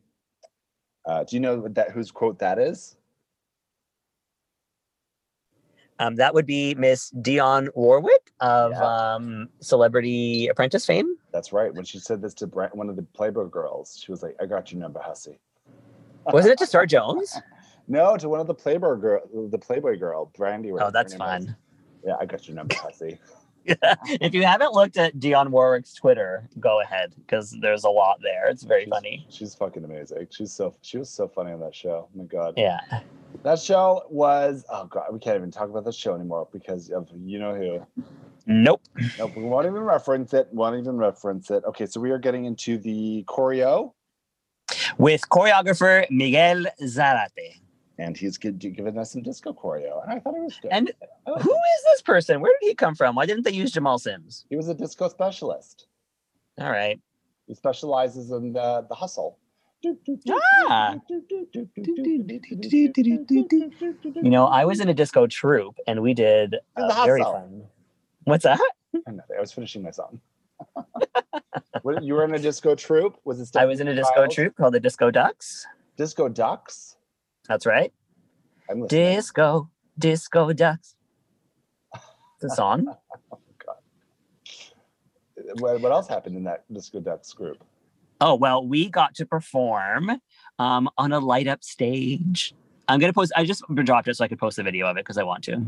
S1: Uh, do you know what that whose quote that is?
S3: Um, that would be Miss Dion Warwick of
S1: Yeah.
S3: um, Celebrity
S1: [LAUGHS]
S3: Apprentice fame.
S1: That's right. When she said this to Brent, one of the Playboy girls, she was like, "I got your number, hussy."
S3: Wasn't it to
S1: [LAUGHS]
S3: Star Jones?
S1: No, to one of the Playboy girl, the Playboy girl, Brandy.
S3: Oh,
S1: whatever
S3: that's
S1: her name is.
S3: fun.
S1: Yeah, I got your number, hussy.
S3: [LAUGHS] if you haven't looked at Dion Warwick's Twitter, go ahead because there's a lot there. It's very
S1: She's-
S3: funny.
S1: She's fucking amazing. She's so she was so funny on that show. Oh my god.
S3: Yeah.
S1: That show was oh god, we can't even talk about the show anymore because of you know who.
S3: Nope.
S1: Nope, we won't even reference it. Won't even reference it. Okay, so we are getting into the choreo,
S3: With choreographer Miguel Zarate.
S1: and he's gi- giving us some disco choreo, and I thought it was good.
S3: And
S1: I
S3: who
S1: liked it.
S3: is this person? Where did he come from? Why didn't they use Jamal Sims?
S1: he was a disco specialist.
S3: All right.
S1: He specializes in the, the hustle.
S3: Ah. You
S1: You
S3: know, I was in a disco troupe and we did
S1: In
S3: uh,
S1: the hot
S3: very
S1: cell.
S3: fun. What's that?
S1: [LAUGHS] I know, I was finishing my song. What- you were in a disco troupe? Was it?
S3: I was in a disco
S1: Styles?
S3: troupe called the Disco Ducks.
S1: Disco Ducks.
S3: That's right.
S1: I'm listening.
S3: Disco, Disco Ducks. The song.
S1: What, what else happened in that Disco Ducks group?
S3: [LAUGHS] Oh, well, we got to perform um, on a light up stage. I'm going to post, I just dropped it so I could post the video of it because I want to.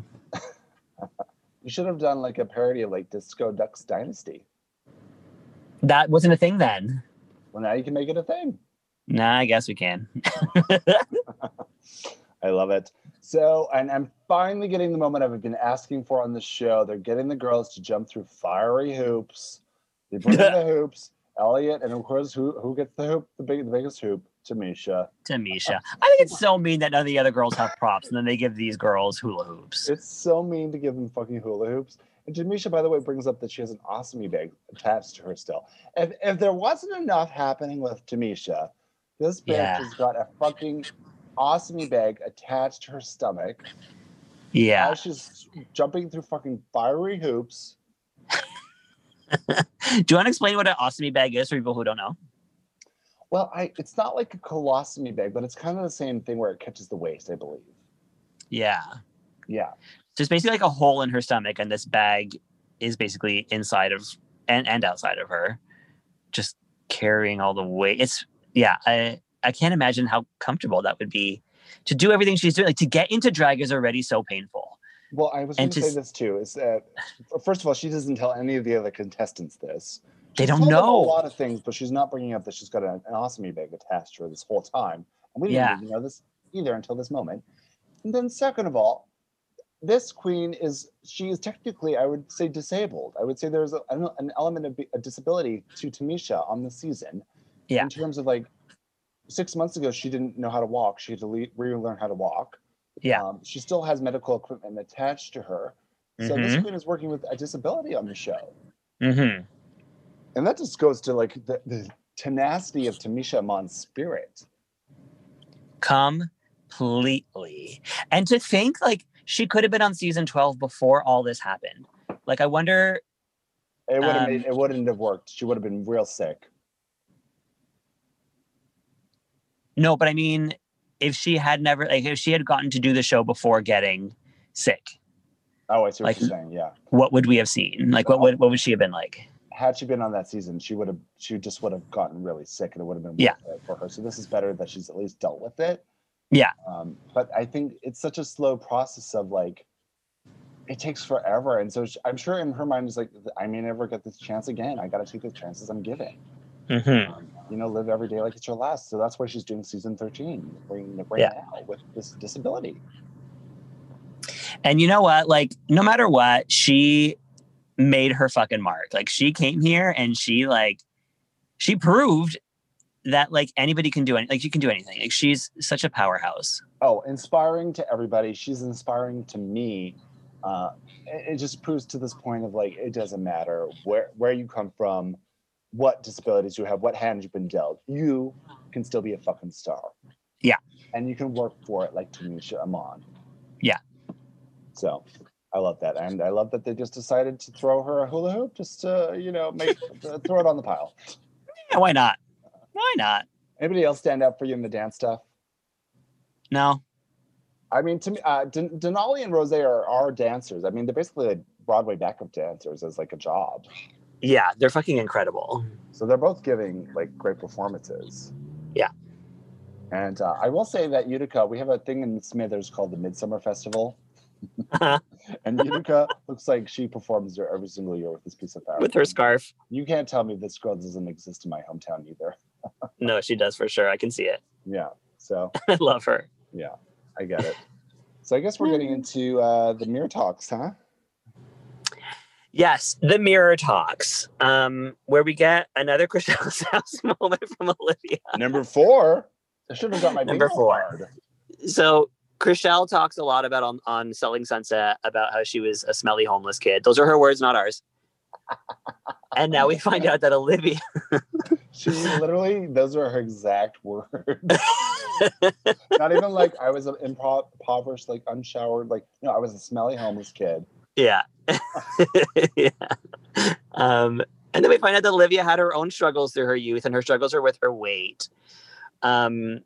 S1: You should have done like a parody of like Disco Ducks Dynasty.
S3: That wasn't a thing then.
S1: Well, now you can make it a thing.
S3: Nah, I guess we can.
S1: I love it. So, and I'm finally getting the moment I've been asking for on the show. They're getting the girls to jump through fiery hoops. They bring in the
S3: [LAUGHS]
S1: hoops. Elliot, and of course, who who gets the hoop? The big, the biggest hoop, Tamisha.
S3: Tamisha. I think it's so mean that none of the other girls have props and then they give these girls hula hoops.
S1: It's so mean to give them fucking hula hoops. And Tamisha, by the way, brings up that she has an ostomy bag attached to her still. If, if there wasn't enough happening with Tamisha, this bitch
S3: Yeah.
S1: has got a fucking ostomy bag attached to her stomach. [LAUGHS]
S3: Yeah.
S1: Now she's jumping through fucking fiery hoops.
S3: Do you want to explain what an ostomy bag is for people who don't know?
S1: Well, I it's not like a colostomy bag, but it's kind of the same thing where it catches the waist, I believe.
S3: Yeah.
S1: Yeah.
S3: There's basically like a hole in her stomach, and this bag is basically inside of and, and outside of her, just carrying all the weight. It's yeah, I I can't imagine how comfortable that would be to do everything she's doing. Like to get into drag is already so painful.
S1: Well, I was going
S3: And
S1: to
S3: to
S1: say
S3: s-
S1: this too. Is that first of all, she doesn't tell any of the other contestants this.
S3: They
S1: She's
S3: don't
S1: told them
S3: know.
S1: a lot of things, but she's not bringing up that she's got an, an ostomy bag attached to her this whole time. And we didn't
S3: Yeah.
S1: even know this either until this moment. And then, second of all, this queen is she is technically, I would say, disabled. I would say there's a, an, an element of be- a disability to Tamisha on the season.
S3: Yeah.
S1: In terms of like six months ago, she didn't know how to walk. She had to le- relearn how to walk.
S3: Yeah.
S1: Um, she still has medical equipment attached to her. So this
S3: Mhm.
S1: queen is working with a disability on the show
S3: Mm-hmm.
S1: and that just goes to like the, the tenacity of Tamisha Mon's spirit.
S3: completely. And to think like she could have been on season 12 before all this happened. Like I wonder
S1: It would have
S3: Um,
S1: made, it wouldn't have worked. She would have been real sick.
S3: no, but I mean if she had never like if she had gotten to do the show before getting sick,
S1: Oh, I see what
S3: Like-
S1: you're saying. Yeah,
S3: what would we have seen? Like what would what would she have been like?
S1: had she been on that season, she would have. She just would have gotten really sick, and it would have been
S3: Yeah.
S1: worth it for her. So this is better that she's at least dealt with it.
S3: Yeah.
S1: Um, but I think it's such a slow process of like, it takes forever, and so she, I'm sure in her mind is like, I may never get this chance again. I got to take the chances I'm given.
S3: Mm-hmm.
S1: um, you know, live every day like it's your last. So that's why she's doing season 13, bringing it right
S3: Yeah.
S1: now with this disability.
S3: And you know what? Like no matter what, she
S5: made her fucking mark. Like she came here and she like she proved that like anybody can do any like you can do anything. Like she's such a powerhouse.
S1: Oh, inspiring to everybody. She's inspiring to me. Uh, it, it just proves to this point of like it doesn't matter where where you come from, what disabilities you have, what hand you've been dealt. You can still be a fucking star.
S5: Yeah.
S1: And you can work for it like Tamisha Amon.
S5: Yeah.
S1: So I love that. And I love that they just decided to throw her a hula hoop just to, you know, make [LAUGHS] throw it on the pile.
S5: Yeah, why not? Why not?
S1: Anybody else stand up for you in the dance stuff?
S5: No.
S1: I mean, to me, uh, Den- Denali and Rose are, are dancers. I mean, they're basically like Broadway backup dancers as like a job.
S3: Yeah, they're fucking incredible.
S1: So they're both giving like great performances.
S3: Yeah.
S1: And uh, I will say that Utica, we have a thing in Smithers called the Midsummer Festival.
S3: Uh-huh.
S1: [LAUGHS] and Utica looks like she performs there every single year with this piece of fabric.
S3: With her scarf.
S1: You can't tell me this girl doesn't exist in my hometown either.
S3: No, she does for sure. I can see it. [LAUGHS]
S1: Yeah. So
S3: I love her.
S1: I get it. So I guess we're getting into uh, the mirror talks, huh?
S3: Yes, the mirror talks, um, where we get another Chriselle's house [LAUGHS] moment from Olivia.
S1: Number four. I should have got my
S3: Number
S1: bingo
S3: four.
S1: card.
S3: So Chriselle talks a lot about on, on Selling Sunset about how she was a smelly homeless kid. Those are her words, not ours. and now we find out that Olivia
S1: She literally, those are her exact words. Not even like I was an impro- impoverished, like unshowered, like no, I was a smelly homeless kid.
S3: Yeah. [LAUGHS] yeah. Um, and then we find out that Olivia had her own struggles through her youth, and her struggles are with her weight. Um,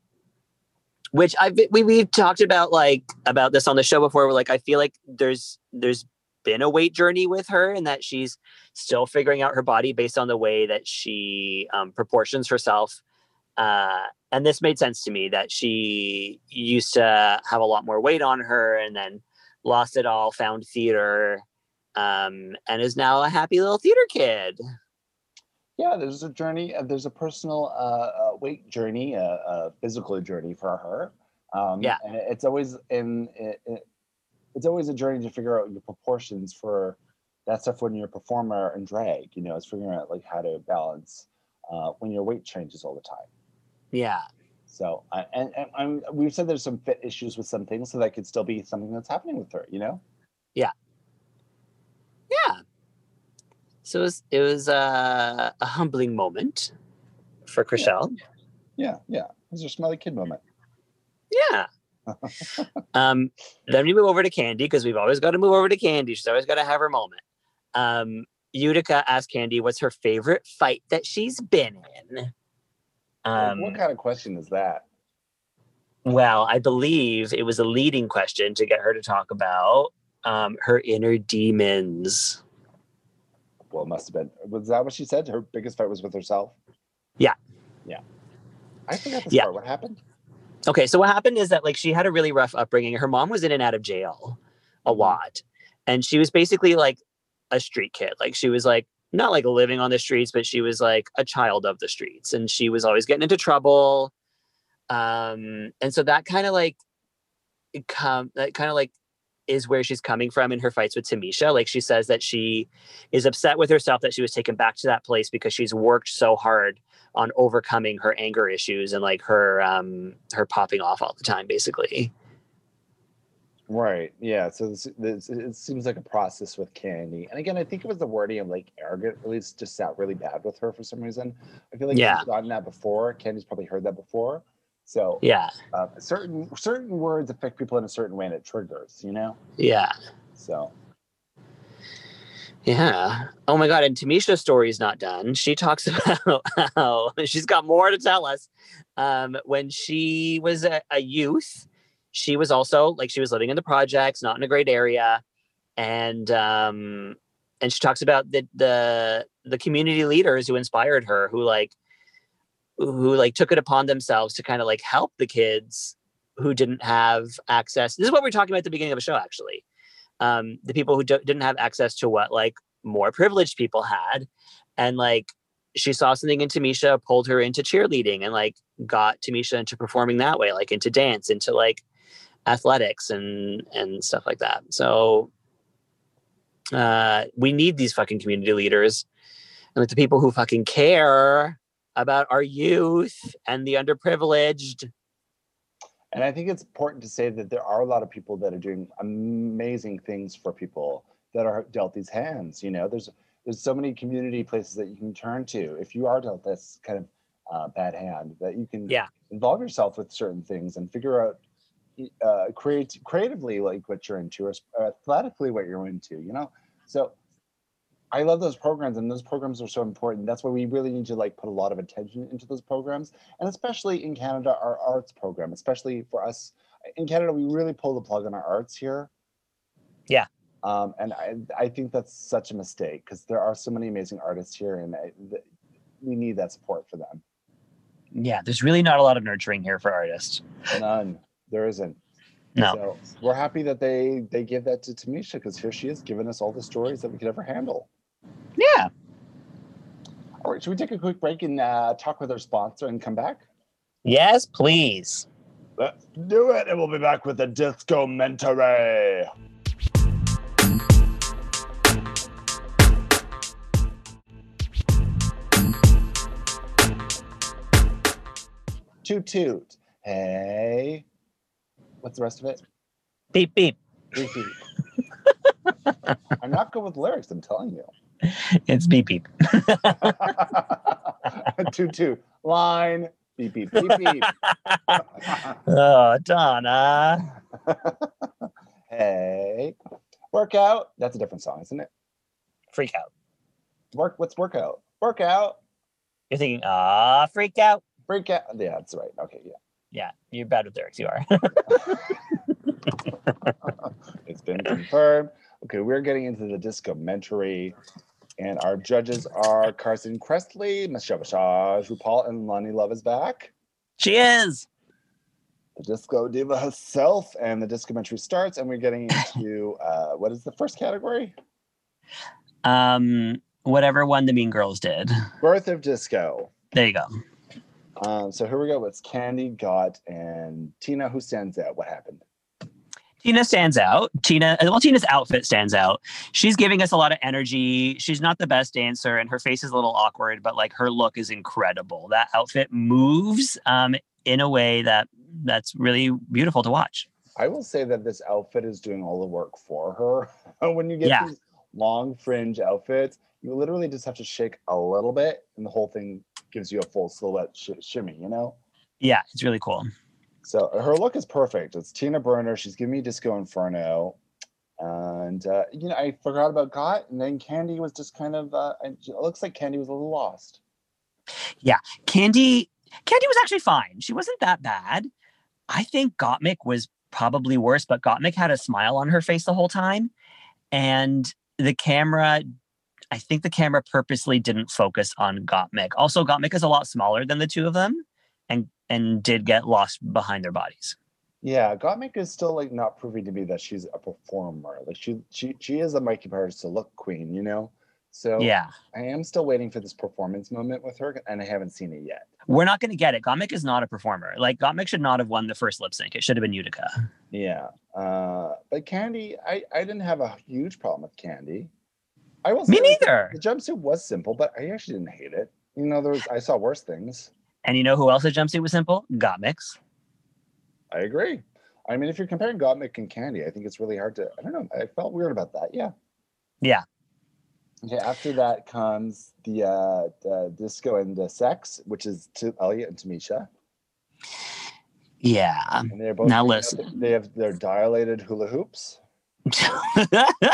S3: which I've been- we we've talked about like about this on the show before. Where like I feel like there's there's been a weight journey with her, and that she's still figuring out her body based on the way that she um, proportions herself. Uh, and this made sense to me that she used to have a lot more weight on her, and then lost it all, found theater, um, and is now a happy little theater kid.
S1: Yeah, there's a journey. Uh, there's a personal uh, uh, weight journey, a uh, uh, physical journey for her. Um,
S3: Yeah.
S1: and it's always in. It, it, it's always a journey to figure out your proportions for that stuff when you're a performer and drag. You know, it's figuring out like how to balance uh, when your weight changes all the time.
S3: Yeah.
S1: So, I, and, and I'm, we've said there's some fit issues with some things, so that could still be something that's happening with her, you know?
S3: Yeah. So it was it was uh, a humbling moment for Chriselle.
S1: Yeah, yeah. It was her smelly kid moment.
S3: Yeah. um, then we move over to Candy because we've always got to move over to Candy. She's always got to have her moment. Um, Utica asked Candy what's her favorite fight that she's been in.
S1: Like,
S3: Um,
S1: what kind of question is that?
S3: Well, I believe it was a leading question to get her to talk about um, her inner demons.
S1: Well, it must have been. Was that what she said? Her biggest fight was with herself?
S3: Yeah.
S1: Yeah. I forgot this
S3: Yeah.
S1: part. What happened?
S3: Okay, so what happened is that like she had a really rough upbringing. Her mom was in and out of jail a lot, and she was basically like a street kid. Like she was like not like living on the streets, but she was like a child of the streets, and she was always getting into trouble. Um, and so that kind of like it come that kind of like is where she's coming from in her fights with Tamisha. Like she says that she is upset with herself that she was taken back to that place because she's worked so hard on overcoming her anger issues and like her um her popping off all the time basically.
S1: Right. Yeah. So this, this, it seems like a process with Candy. And again, I think it was the wording of like arrogant really s- just sat really bad with her for some reason. I feel like
S3: Yeah.
S1: she's gotten that before. Candy's probably heard that before. So
S3: Yeah.
S1: uh, certain certain words affect people in a certain way and it triggers, you know?
S3: Yeah.
S1: So
S3: Yeah. Oh my god, and Tamisha's story's not done. She talks [LAUGHS] about how she's got more to tell us. Um when she was a, a youth, she was also like she was living in the projects, not in a great area. And um and she talks about the the the community leaders who inspired her who like who like took it upon themselves to kind of like help the kids who didn't have access. This is what we were talking about at the beginning of the show actually. Um the people who do- didn't have access to what like more privileged people had and like she saw something in Tamisha pulled her into cheerleading and like got Tamisha into performing that way like into dance into like athletics and and stuff like that. So
S2: Uh, we need these fucking community leaders and like the people who fucking care about our youth and the underprivileged.
S1: And I think it's important to say that there are a lot of people that are doing amazing things for people that are dealt these hands. You know, there's there's so many community places that you can turn to if you are dealt this kind of uh, bad hand that you can
S2: Yeah.
S1: involve yourself with certain things and figure out uh, create creatively like what you're into or athletically what you're into. You know, so I love those programs and those programs are so important. That's why we really need to like put a lot of attention into those programs and especially in Canada, our arts program, especially for us in Canada, we really pull the plug on our arts here.
S3: Yeah.
S1: Um, and I, I think that's such a mistake because there are so many amazing artists here, and I, th- we need that support for them.
S3: Yeah, there's really not a lot of nurturing here for artists.
S1: None, there isn't.
S3: No.
S1: So we're happy that they they gave that to Tamisha because here she is giving us all the stories that we could ever handle.
S3: Yeah.
S1: All right, should we take a quick break and uh, talk with our sponsor and come back?
S3: Yes, please.
S1: Let's do it, and we'll be back with the disco mentory. Toot toot. Hey, what's the rest of it?
S3: Beep beep.
S1: Beep, beep. I'm not good with lyrics. I'm telling you.
S3: It's beep beep.
S1: [LAUGHS] toot toot. Line. Beep beep beep beep.
S3: Oh, Donna.
S1: [LAUGHS] hey, workout. That's a different song, isn't it?
S3: Freak out.
S1: Work. What's workout? Workout.
S3: You're thinking, ah, freak out.
S1: Break out. Yeah, that's right. Okay, yeah.
S3: Yeah, you're bad with lyrics. You are. [LAUGHS]
S1: It's been confirmed. Okay, we're getting into the discomentary. And our judges are Carson Cressley, Michelle Bashaj, RuPaul, and Lonnie Love is back.
S3: she is.
S1: The disco diva herself, and the discomentary starts. And we're getting into uh, what is the first category?
S3: Um, whatever one the Mean Girls did.
S1: Birth of Disco.
S3: There you go.
S1: Um, so here we go. It's Candy, Got, and Tina. Who stands out? What happened?
S3: Tina stands out. Tina, well, Tina's outfit stands out. She's giving us a lot of energy. She's not the best dancer, and her face is a little awkward, but like her look is incredible. That outfit moves um, in a way that that's really beautiful to watch.
S1: I will say that this outfit is doing all the work for her. [LAUGHS] when you get
S3: Yeah.
S1: these long fringe outfits, you literally just have to shake a little bit, and the whole thing gives you a full silhouette sh- shimmy. You know.
S3: Yeah, it's really cool.
S1: So her look is perfect. It's Tina Burner. She's giving me Disco Inferno. And uh, you know, I forgot about Got, and then Candy was just kind of. Uh, it looks like Candy was a little lost.
S3: Candy, Candy was actually fine. She wasn't that bad. I think Gottmik was probably worse, but Gottmik had a smile on her face the whole time, and the camera. I think the camera purposely didn't focus on Gottmik. Also, Gottmik is a lot smaller than the two of them, and and did get lost behind their bodies.
S1: Yeah, Gottmik is still like not proving to me that she's a performer. Like she she she is a Mikey Powers to look queen, you know. So
S3: Yeah,
S1: I am still waiting for this performance moment with her, and I haven't seen it yet.
S3: we're not going to get it. Gottmik is not a performer. Like Gottmik should not have won the first lip sync. It should have been Utica.
S1: Yeah, uh, but Candy, I I didn't have a huge problem with Candy. I will
S3: Me
S1: say, like,
S3: neither.
S1: The jumpsuit was simple, but I actually didn't hate it. You know, there was I saw worse things.
S3: And you know who else's jumpsuit was simple? Gottmik's.
S1: I agree. I mean, if you're comparing Gottmik and Candy, I think it's really hard to. I don't know. I felt weird about that. Yeah.
S3: Yeah.
S1: Okay. After that comes the uh, the disco and the sex, which is to Elliot and Tamisha,
S3: Yeah.
S1: and they're both
S3: Now
S1: they have-
S3: listen.
S1: They have their dilated hula hoops.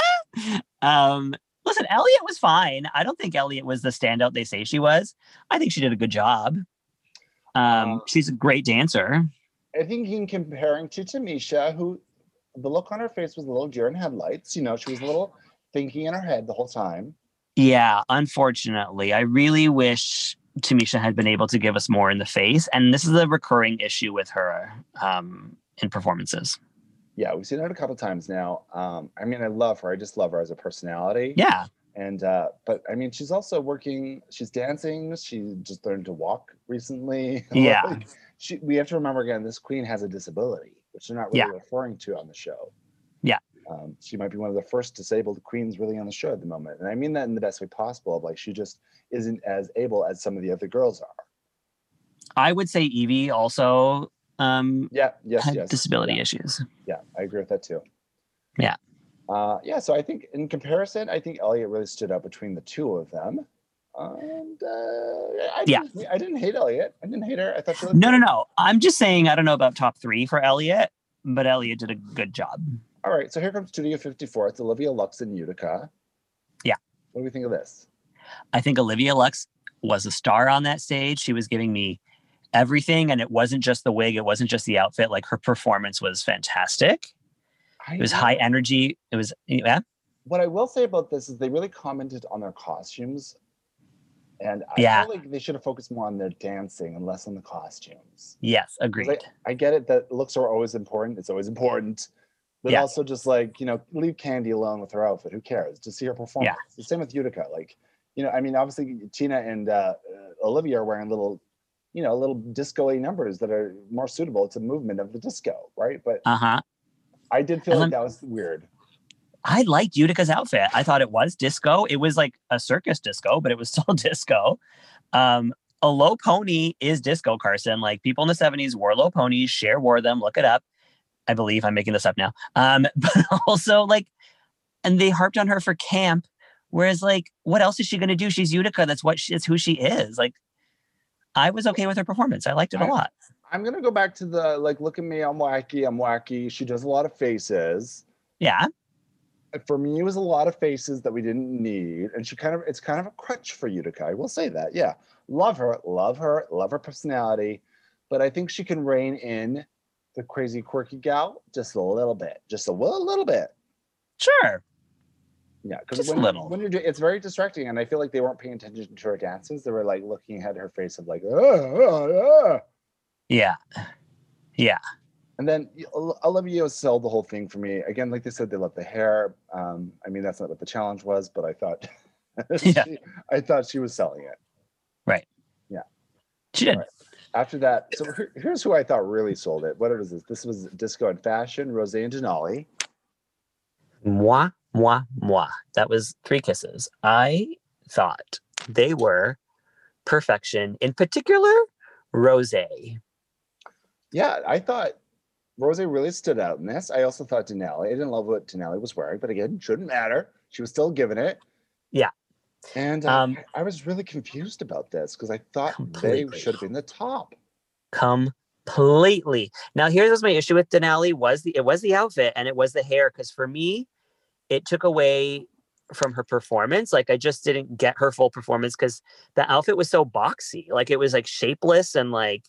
S3: [LAUGHS] um, listen, Elliot was fine. I don't think Elliot was the standout they say she was. I think she did a good job. Um,
S1: Um,
S3: she's a great dancer.
S1: I think in comparing to Tamisha, who the look on her face was a little deer in headlights. You know, she was a little thinking in her head the whole time.
S3: Yeah, unfortunately, I really wish Tamisha had been able to give us more in the face. And this is a recurring issue with her um, in performances.
S1: Yeah, we've seen it a couple times now. Um, I mean, I love her. I just love her as a personality.
S3: Yeah,
S1: and uh but i mean she's also working she's dancing she just learned to walk recently [LAUGHS]
S3: Yeah.
S1: Like, she, we have to remember again this queen has a disability which they're not really referring to on the show
S3: Yeah.
S1: Um, she might be one of the first disabled queens really on the show at the moment, and I mean that in the best way possible. Of like she just isn't as able as some of the other girls are.
S3: I would say Evie also um,
S1: Yeah. Yes.
S3: [LAUGHS] had
S1: Yes.
S3: disability
S1: Yeah.
S3: issues.
S1: Yeah, I agree with that too.
S3: Yeah.
S1: Uh, yeah, so I think in comparison, I think Elliot really stood out between the two of them. And uh, I,
S3: Yeah.
S1: didn't, I didn't hate Elliot. I didn't hate her. I thought she looked
S3: No, no,
S1: good.
S3: no. I'm just saying I don't know about top three for Elliot, but Elliot did a good job.
S1: All right, so here comes Studio 54. It's Olivia Lux and Utica.
S3: Yeah.
S1: What do we think of this?
S3: I think Olivia Lux was a star on that stage. She was giving me everything, and it wasn't just the wig, it wasn't just the outfit. Like her performance was fantastic.
S1: I
S3: It was
S1: know-
S3: high energy. It was yeah,
S1: What I will say about this is they really commented on their costumes. And I
S3: Yeah.
S1: feel like they should have focused more on their dancing and less on the costumes.
S3: yes, agreed.
S1: Like, I get it that looks are always important. It's always important. But
S3: Yeah.
S1: also just like, you know, leave Candy alone with her outfit. Who cares? Just see her performance. The same with Utica. Like, you know, I mean, obviously Tina and uh, uh, Olivia are wearing little, you know, little disco-y numbers that are more suitable. It's a movement of the disco, right? But
S3: Uh huh.
S1: I did feel
S3: And
S1: like that was weird.
S3: I liked Utica's outfit. I thought it was disco. It was like a circus disco, but it was [LAUGHS] still disco. Um, a low pony is disco, Carson. Like people in the 70s wore low ponies. Cher wore them. Look it up. I believe I'm making this up now. Um, [LAUGHS] but also, like, and they harped on her for camp. Whereas, like, what else is she going to do? She's Utica. That's what she, that's who she is. Like, I was okay with her performance. I liked it a
S1: I-
S3: lot.
S1: I'm gonna go back to the like, look at me, I'm wacky, I'm wacky. She does a lot of faces.
S3: Yeah.
S1: For me, it was a lot of faces that we didn't need, and she kind of it's kind of a crutch for Utica. I will say that. Yeah, love her, love her, love her personality, but I think she can rein in the crazy quirky gal just a little bit, just a little, little bit.
S3: Sure.
S1: Yeah, because
S3: Just a
S1: when,
S3: little.
S1: when you're doing it's very distracting, and I feel like they weren't paying attention to her dances. They were like looking at her face of like, "Ah, ah, ah."
S3: Yeah.
S1: And then y- Ol- Olivia sold the whole thing for me. Again, like they said, they love the hair. Um, I mean, that's not what the challenge was, but I thought, [LAUGHS]
S3: Yeah.
S1: she- I thought she was selling it.
S3: She did.
S1: After that, so here- here's who I thought really sold it. What was this? This was Disco and Fashion, Rose and Denali.
S3: moi, moi, moi. That was three kisses. I thought they were perfection, in particular, rose.
S1: Yeah, I thought Rose really stood out in this. I also thought Denali. I didn't love what Denali was wearing, but again, shouldn't matter. She was still giving it.
S3: Yeah.
S1: And uh,
S3: Um,
S1: I was really confused about this because I thought they
S3: Completely.
S1: should have been the top.
S3: Completely. Now, here's what's my issue with Denali was the it was the outfit and it was the hair because for me, it took away from her performance. Like I just didn't get her full performance because the outfit was so boxy. Like it was like shapeless and like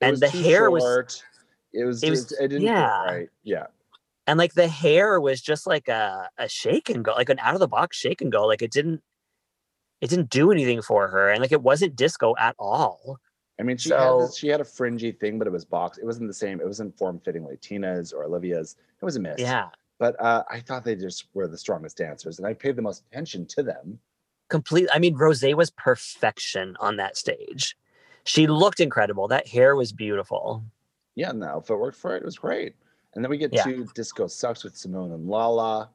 S1: It
S3: And
S1: was
S3: the
S1: too
S3: hair was-
S1: short. It was.
S3: it was-
S1: just- it didn't. fit
S3: yeah.
S1: Right. Yeah.
S3: and like the hair was just like a, a shake and go like an out of the box shake and go like it didn't it didn't do anything for her and like it wasn't disco at all
S1: I mean, she had
S3: So-
S1: this, she had a fringy thing, but it was box. It wasn't the same. It wasn't form fitting like Tina's or Olivia's. It was a miss.
S3: yeah
S1: But uh, I thought they just were the strongest dancers, and I paid the most attention to them.
S3: complete i mean rose was perfection on that stage she looked incredible that hair was beautiful
S1: Yeah, and the outfit worked for it. It was great. And then we get
S3: Yeah.
S1: to Disco Sucks with Simone and Lala.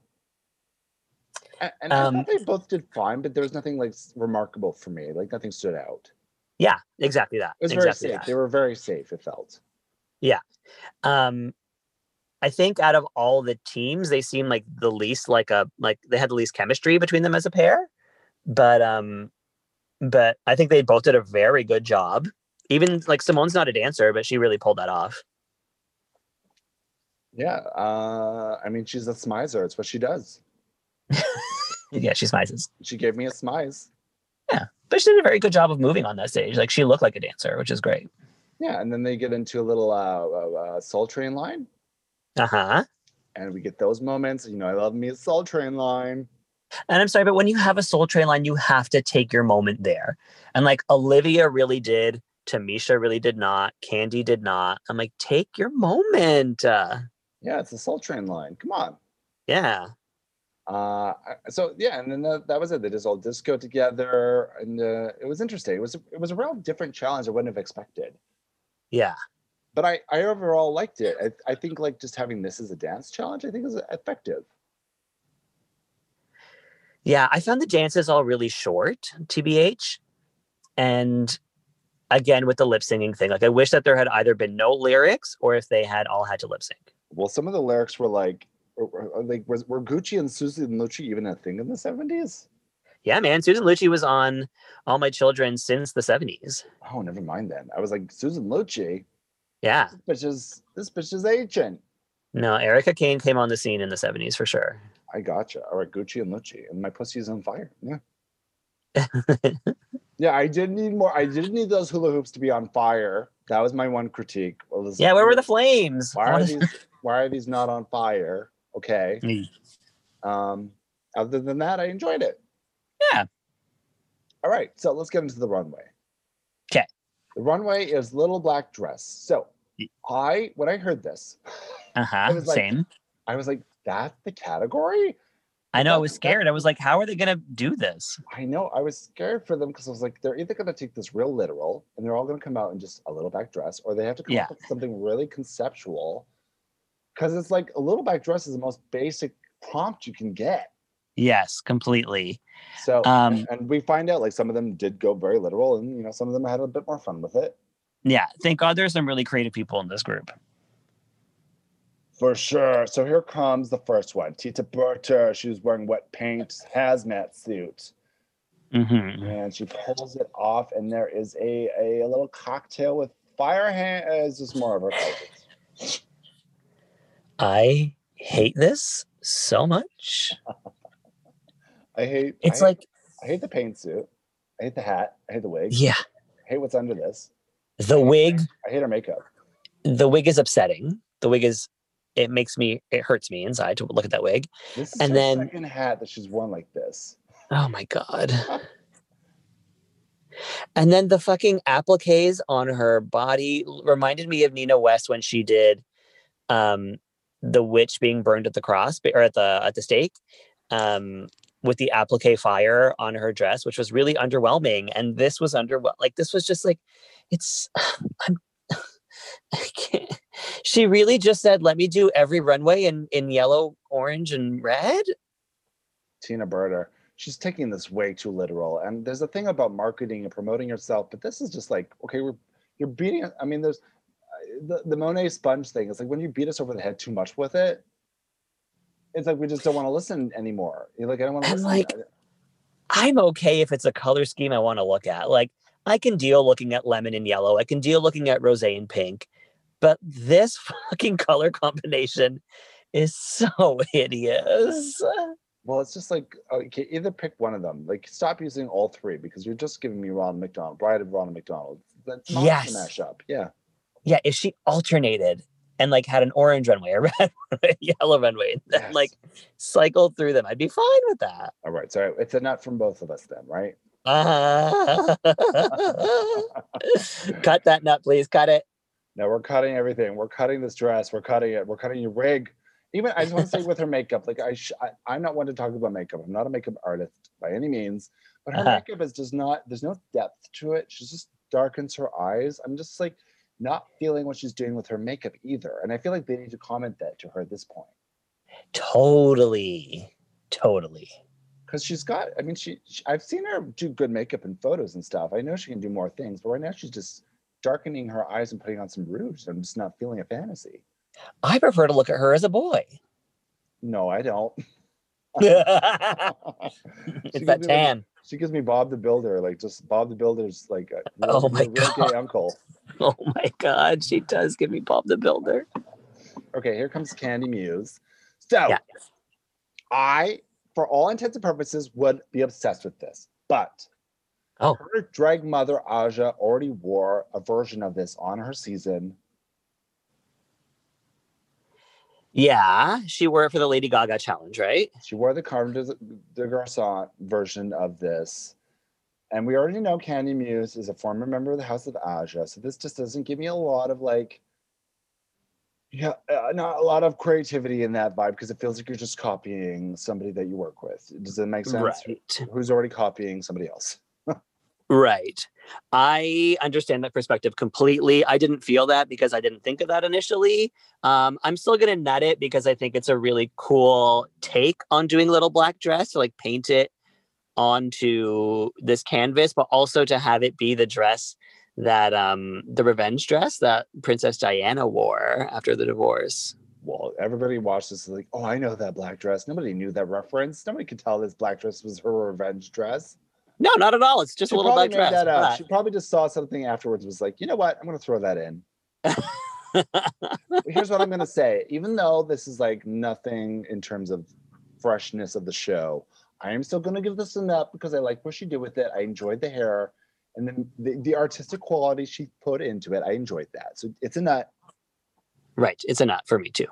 S1: A- And I
S3: Um,
S1: thought they both did fine, but there was nothing like s- remarkable for me. Like nothing stood out.
S3: yeah exactly that
S1: It was very
S3: exactly
S1: safe. They were very safe. It felt.
S3: that um i think out of all the teams they seem like the least like a like they had the least chemistry between them as a pair but um but I think they both did a very good job. Even like Simone's not a dancer, but she really pulled that off. [LAUGHS]
S1: Yeah. Uh, I mean, she's a smizer. It's what she does.
S3: Yeah, she smiles.
S1: She gave me a smize.
S3: But she did a very good job of moving on that stage. Like she looked like a dancer, which is great.
S1: Yeah, and then they get into a little uh, uh, uh, Soul Train line,
S3: Uh-huh.
S1: and we get those moments. You know, I love me a Soul Train line.
S3: And I'm sorry, but when you have a soul train line, you have to take your moment there. And like Olivia really did, Tamisha really did not, Candy did not. I'm like, take your moment. Uh,
S1: Yeah, it's a Soul Train line. Come on.
S3: yeah.
S1: Uh, I- so yeah, and then that, that was it. They just all disco together, and uh, it was interesting. It was a- it was a real different challenge I wouldn't have expected.
S3: Yeah.
S1: but I, I overall liked it. I, I think like just having this as a dance challenge, I think is effective.
S3: Yeah, I found the dances all really short, TBH. And again, with the lip singing thing, like I wish that there had either been no lyrics or if they had all had to lip sync.
S1: Well, some of the lyrics were like, or- or- or, like was, were Gucci and Susie Lucci even a thing in the seventies?
S3: Yeah, man, Susan Lucci was on All My Children since the 70s.
S1: Oh, never mind then. I was like Susan Lucci,
S3: Yeah.
S1: this bitch is this bitch is ancient.
S3: No, Erica Kane came on the scene in the 70s for sure.
S1: I gotcha. All right, Gucci and Lucci, and my pussy's on fire.
S3: [LAUGHS]
S1: Yeah. yeah, I didn't need more. I didn't need those hula hoops to be on fire. That was my one critique. Well, this-
S3: Yeah, where were the flames?
S1: Why
S3: [LAUGHS]
S1: are these? Why are these not on fire? Okay.
S6: Mm.
S1: Um, other than that, I enjoyed it.
S6: Yeah.
S1: All right, so let's get into the runway.
S6: 'Kay.
S1: The runway is little black dress. So,
S6: Y-
S1: I when I heard this,
S6: Uh-huh.
S1: was like-
S6: Same.
S1: I was like, "That's the category."
S6: I know I
S1: that-
S6: was
S1: that-
S6: scared. I was like, how are they gonna do this?
S1: I know. I was scared for them because I was like, they're either going to take this real literal and they're all going to come out in just a little back dress, or they have to come
S6: Yeah.
S1: up with something really conceptual. Because it's like a little back dress is the most basic prompt you can get.
S6: Yes, completely.
S1: So,
S6: Um,
S1: and- and we find out like some of them did go very literal, and you know some of them had a bit more fun with it
S6: Yeah. Thank God there's some really creative people in this group.
S1: for sure. So here comes the first one, Tita Berter. She was wearing wet paint hazmat suit.
S3: Mm-hmm.
S6: hmm
S1: and she pulls it off and there is a a, little cocktail with fire hand uh, is just more of her favorites.
S3: I hate this so much.
S1: i hate
S3: It's
S1: I hate-
S3: like,
S1: i hate the paint suit i hate the hat i hate the wig
S3: yeah,
S1: i hate what's under this
S3: the wig,
S1: i hate her makeup
S3: the wig is upsetting. The wig is, it makes me, it hurts me inside to look at that wig.
S1: this is
S3: And
S1: her
S3: then-
S1: second hat that she's worn like this
S3: Oh my God. And then the fucking appliques on her body l- reminded me of Nina West when she did um the witch being burned at the cross or at the at the stake um with the applique fire on her dress which was really underwhelming and this was underwhelming like this was just like it's [SIGHS] I'm I can't. She really just said let me do every runway in in yellow, orange and red.
S1: tina burner she's taking this way too literal and there's a thing about marketing and promoting yourself but this is just like okay we're you're beating i mean there's uh, the, the monet sponge thing it's like when you beat us over the head too much with it it's like we just don't want to listen anymore you're like i don't want to
S3: And
S1: listen
S3: like, I'm okay if it's a color scheme I want to look at. Like I can deal looking at lemon and yellow. I can deal looking at rose and pink. But this [LAUGHS] fucking color combination is so [LAUGHS] hideous.
S1: Well, it's just like okay, either pick one of them. Like stop using all three because you're just giving me Ronald McDonald, Bride of Ronald McDonald. That's not
S3: Yes.
S1: a mashup. Yeah.
S3: Yeah, if she alternated and like had an orange runway, [LAUGHS] a red runway, yellow runway, and then
S1: Yes.
S3: like cycled through them, I'd be fine with that. [LAUGHS]
S1: All right. So it's a nut from both of us then, right?
S3: Cut that nut, please. Cut it.
S1: No, we're cutting everything. We're cutting this dress. We're cutting it. We're cutting your wig. Even I just want to say with her makeup, like I, sh- I, I'm not one to talk about makeup. I'm not a makeup artist by any means, but her
S3: Uh-huh.
S1: makeup is just not. There's no depth to it. She just darkens her eyes. I'm just like not feeling what she's doing with her makeup either, and I feel like they need to comment that to her at this point.
S3: Totally. Totally.
S1: because she's got i mean she, she i've seen her do good makeup and photos and stuff i know she can do more things but right now she's just darkening her eyes and putting on some rouge i'm just not feeling a fantasy
S3: I prefer to look at her as a boy.
S1: no i don't
S3: [LAUGHS] it's
S1: [LAUGHS] She
S3: that
S1: gives me like-
S3: tan.
S1: she gives me bob the builder like just bob the builder's like a real,
S3: [LAUGHS] Oh my
S1: real gay
S3: God.
S1: uncle
S3: [LAUGHS] Oh my god, she does give me Bob the Builder.
S1: okay here comes candy muse so
S3: Yeah.
S1: i for all intents and purposes would be obsessed with this but
S3: Oh.
S1: her drag mother aja already wore a version of this on her season
S3: Yeah, she wore it for the Lady Gaga challenge, right?
S1: She wore the Carmen de, de Garçon version of this. And we already know Candy Muse is a former member of the House of Aja. So this just doesn't give me a lot of like, yeah, uh, not a lot of creativity in that vibe because it feels like you're just copying somebody that you work with. Does it make sense?
S3: Right.
S1: Who's already copying somebody else?
S3: Right. I understand that perspective completely. I didn't feel that because I didn't think of that initially. Um, I'm still going to nut it because I think it's a really cool take on doing Little Black Dress to like paint it onto this canvas, but also to have it be the dress that um, the revenge dress that Princess Diana wore after the divorce.
S1: Well, everybody watched this and like, oh, I know that black dress. Nobody knew that reference. Nobody could tell this black dress was her revenge dress.
S3: No, not at all. It's just
S1: She
S3: a little
S1: probably
S3: black
S1: made
S3: dress.
S1: that up.
S3: but-
S1: She probably just saw something afterwards. and Was like, you know what? I'm gonna throw that
S3: [LAUGHS]
S1: in. here's what I'm gonna say. Even though this is like nothing in terms of freshness of the show, I am still gonna give this a nut because I like what she did with it. I enjoyed the hair and then the, the artistic quality she put into it. I enjoyed that. So it's a nut.
S3: right. It's a nut for me too.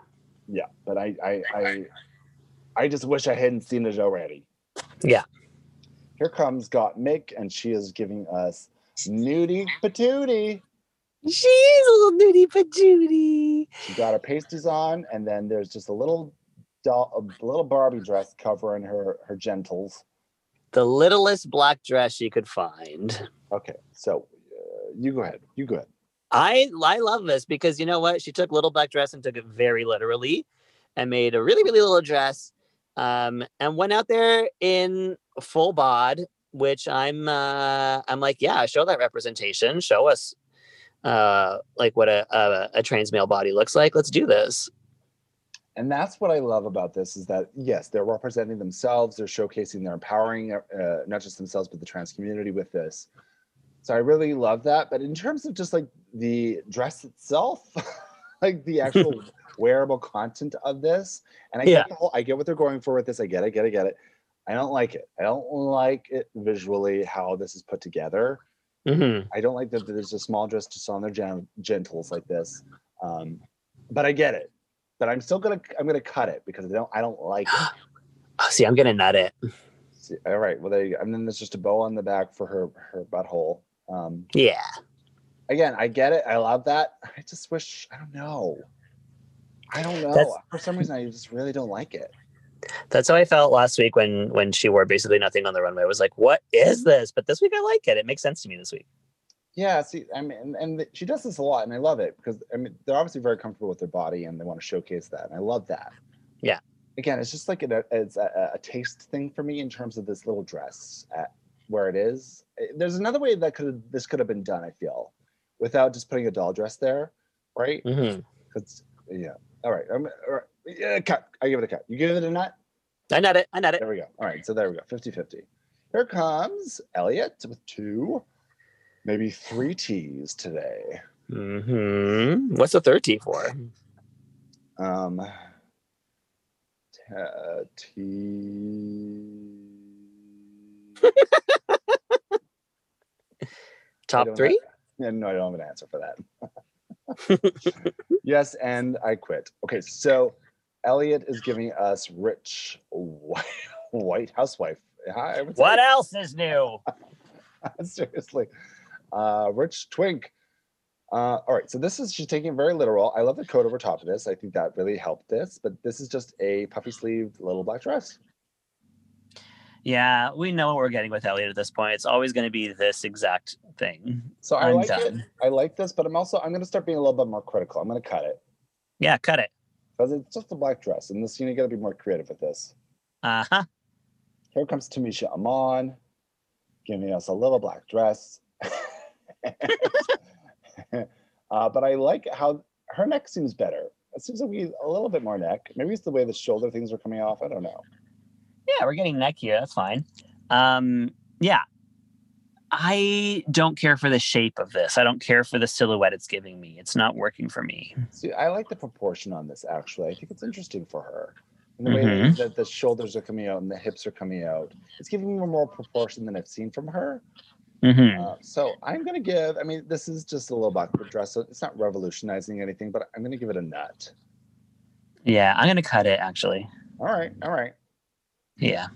S1: Yeah, but I I I, I just wish I hadn't seen it already.
S3: Yeah.
S1: Here comes Got Mick, and she is giving us nudie patootie.
S3: She's a little nudie patootie.
S1: She got her pasties on, and then there's just a little doll, a little Barbie dress covering her her gentles.
S3: The littlest black dress she could find.
S1: Okay, so uh, you go ahead. You go ahead.
S3: I I love this because you know what? She took little black dress and took it very literally and made a really, really little dress. Um, and went out there in full bod, which I'm uh I'm like, yeah, show that representation. Show us uh like what a a, a trans male body looks like. Let's do this.
S1: And that's what I love about this is that yes, they're representing themselves. They're showcasing, they're empowering uh, not just themselves but the trans community with this. So I really love that. But in terms of just like the dress itself, [LAUGHS] like the actual wearable content of this, and I
S3: Yeah.
S1: get the whole, I get what they're going for with this. I get it. I get it. I get it. I don't like it. I don't like it visually how this is put together.
S3: Mhm.
S1: I don't like that there's a small dress just on their gen- gentles like this. Um, but I get it. But I'm still gonna I'm gonna cut it because I don't I don't like it.
S3: Oh, see, I'm gonna nut it.
S1: See, all right, well there you go. And then there's just a bow on the back for her her butthole. Um,
S3: Yeah.
S1: again, I get it. I love that. I just wish I don't know. I don't know.
S3: That's-
S1: for some reason, I just really don't like it.
S3: That's how I felt last week when when she wore basically nothing on the runway. I was like, what is this? But this week I like it. It makes sense to me this week.
S1: Yeah, see, I mean, and, and she does this a lot, and I love it because I mean they're obviously very comfortable with their body and they want to showcase that, and I love that.
S3: Yeah.
S1: Again, it's just like a, it's a, a taste thing for me in terms of this little dress at where it is. Eh, There's another way that could this could have been done. I feel, without just putting a doll dress there, right?
S3: hmm
S1: Because yeah, all right, I'm, all right, yeah, cut. I give it a cut. You give it a nut.
S3: I nut it. I nut it.
S1: There we go. All right. So there we go. 50 50. Here comes Elliot with two, maybe three T's today.
S3: hmm What's the third T for?
S1: Um, ta- T. I
S3: Top
S1: don't
S3: three?
S1: Yeah, no, I don't have an answer for that. [LAUGHS] yes, and I quit. Okay, so Elliot is giving us rich white, white housewife. Hi, I would say-
S3: What else is new?
S1: [LAUGHS] Seriously. Uh, Rich Twink. Uh, all right, so this is she's taking it very literal. I love the coat over top of this. I think that really helped this, but this is just a puffy sleeved little black dress.
S7: Yeah, we know what we're getting with Elliot at this point. It's always going to be this exact thing.
S1: So I
S7: I'm
S1: like it.
S7: done.
S1: I like this, but I'm also I'm gonna start being a little bit more critical. I'm gonna cut it
S7: Yeah, cut it.
S1: because it's just a black dress, and this you, know, you gotta be more creative with this.
S7: Uh huh.
S1: Here comes Tamisha Amon, giving us a little black dress. [LAUGHS] uh, but I like how her neck seems better. It seems like we a little bit more neck. Maybe it's the way the shoulder things are coming off. I don't know.
S7: Yeah, we're getting neck here. That's fine. Um, yeah. I don't care for the shape of this. I don't care for the silhouette it's giving me. It's not working for me.
S1: See, I like the proportion on this actually. I think it's interesting for her. And the way
S7: Mhm.
S1: that, that the shoulders are coming out and the hips are coming out. It's giving me more proportion than I've seen from her.
S7: hmm
S1: Uh, so I'm gonna give. I mean, this is just a little black dress. So it's not revolutionizing anything, but I'm gonna give it a nut.
S7: Yeah, I'm gonna cut it actually.
S1: All right, all right,
S7: Yeah,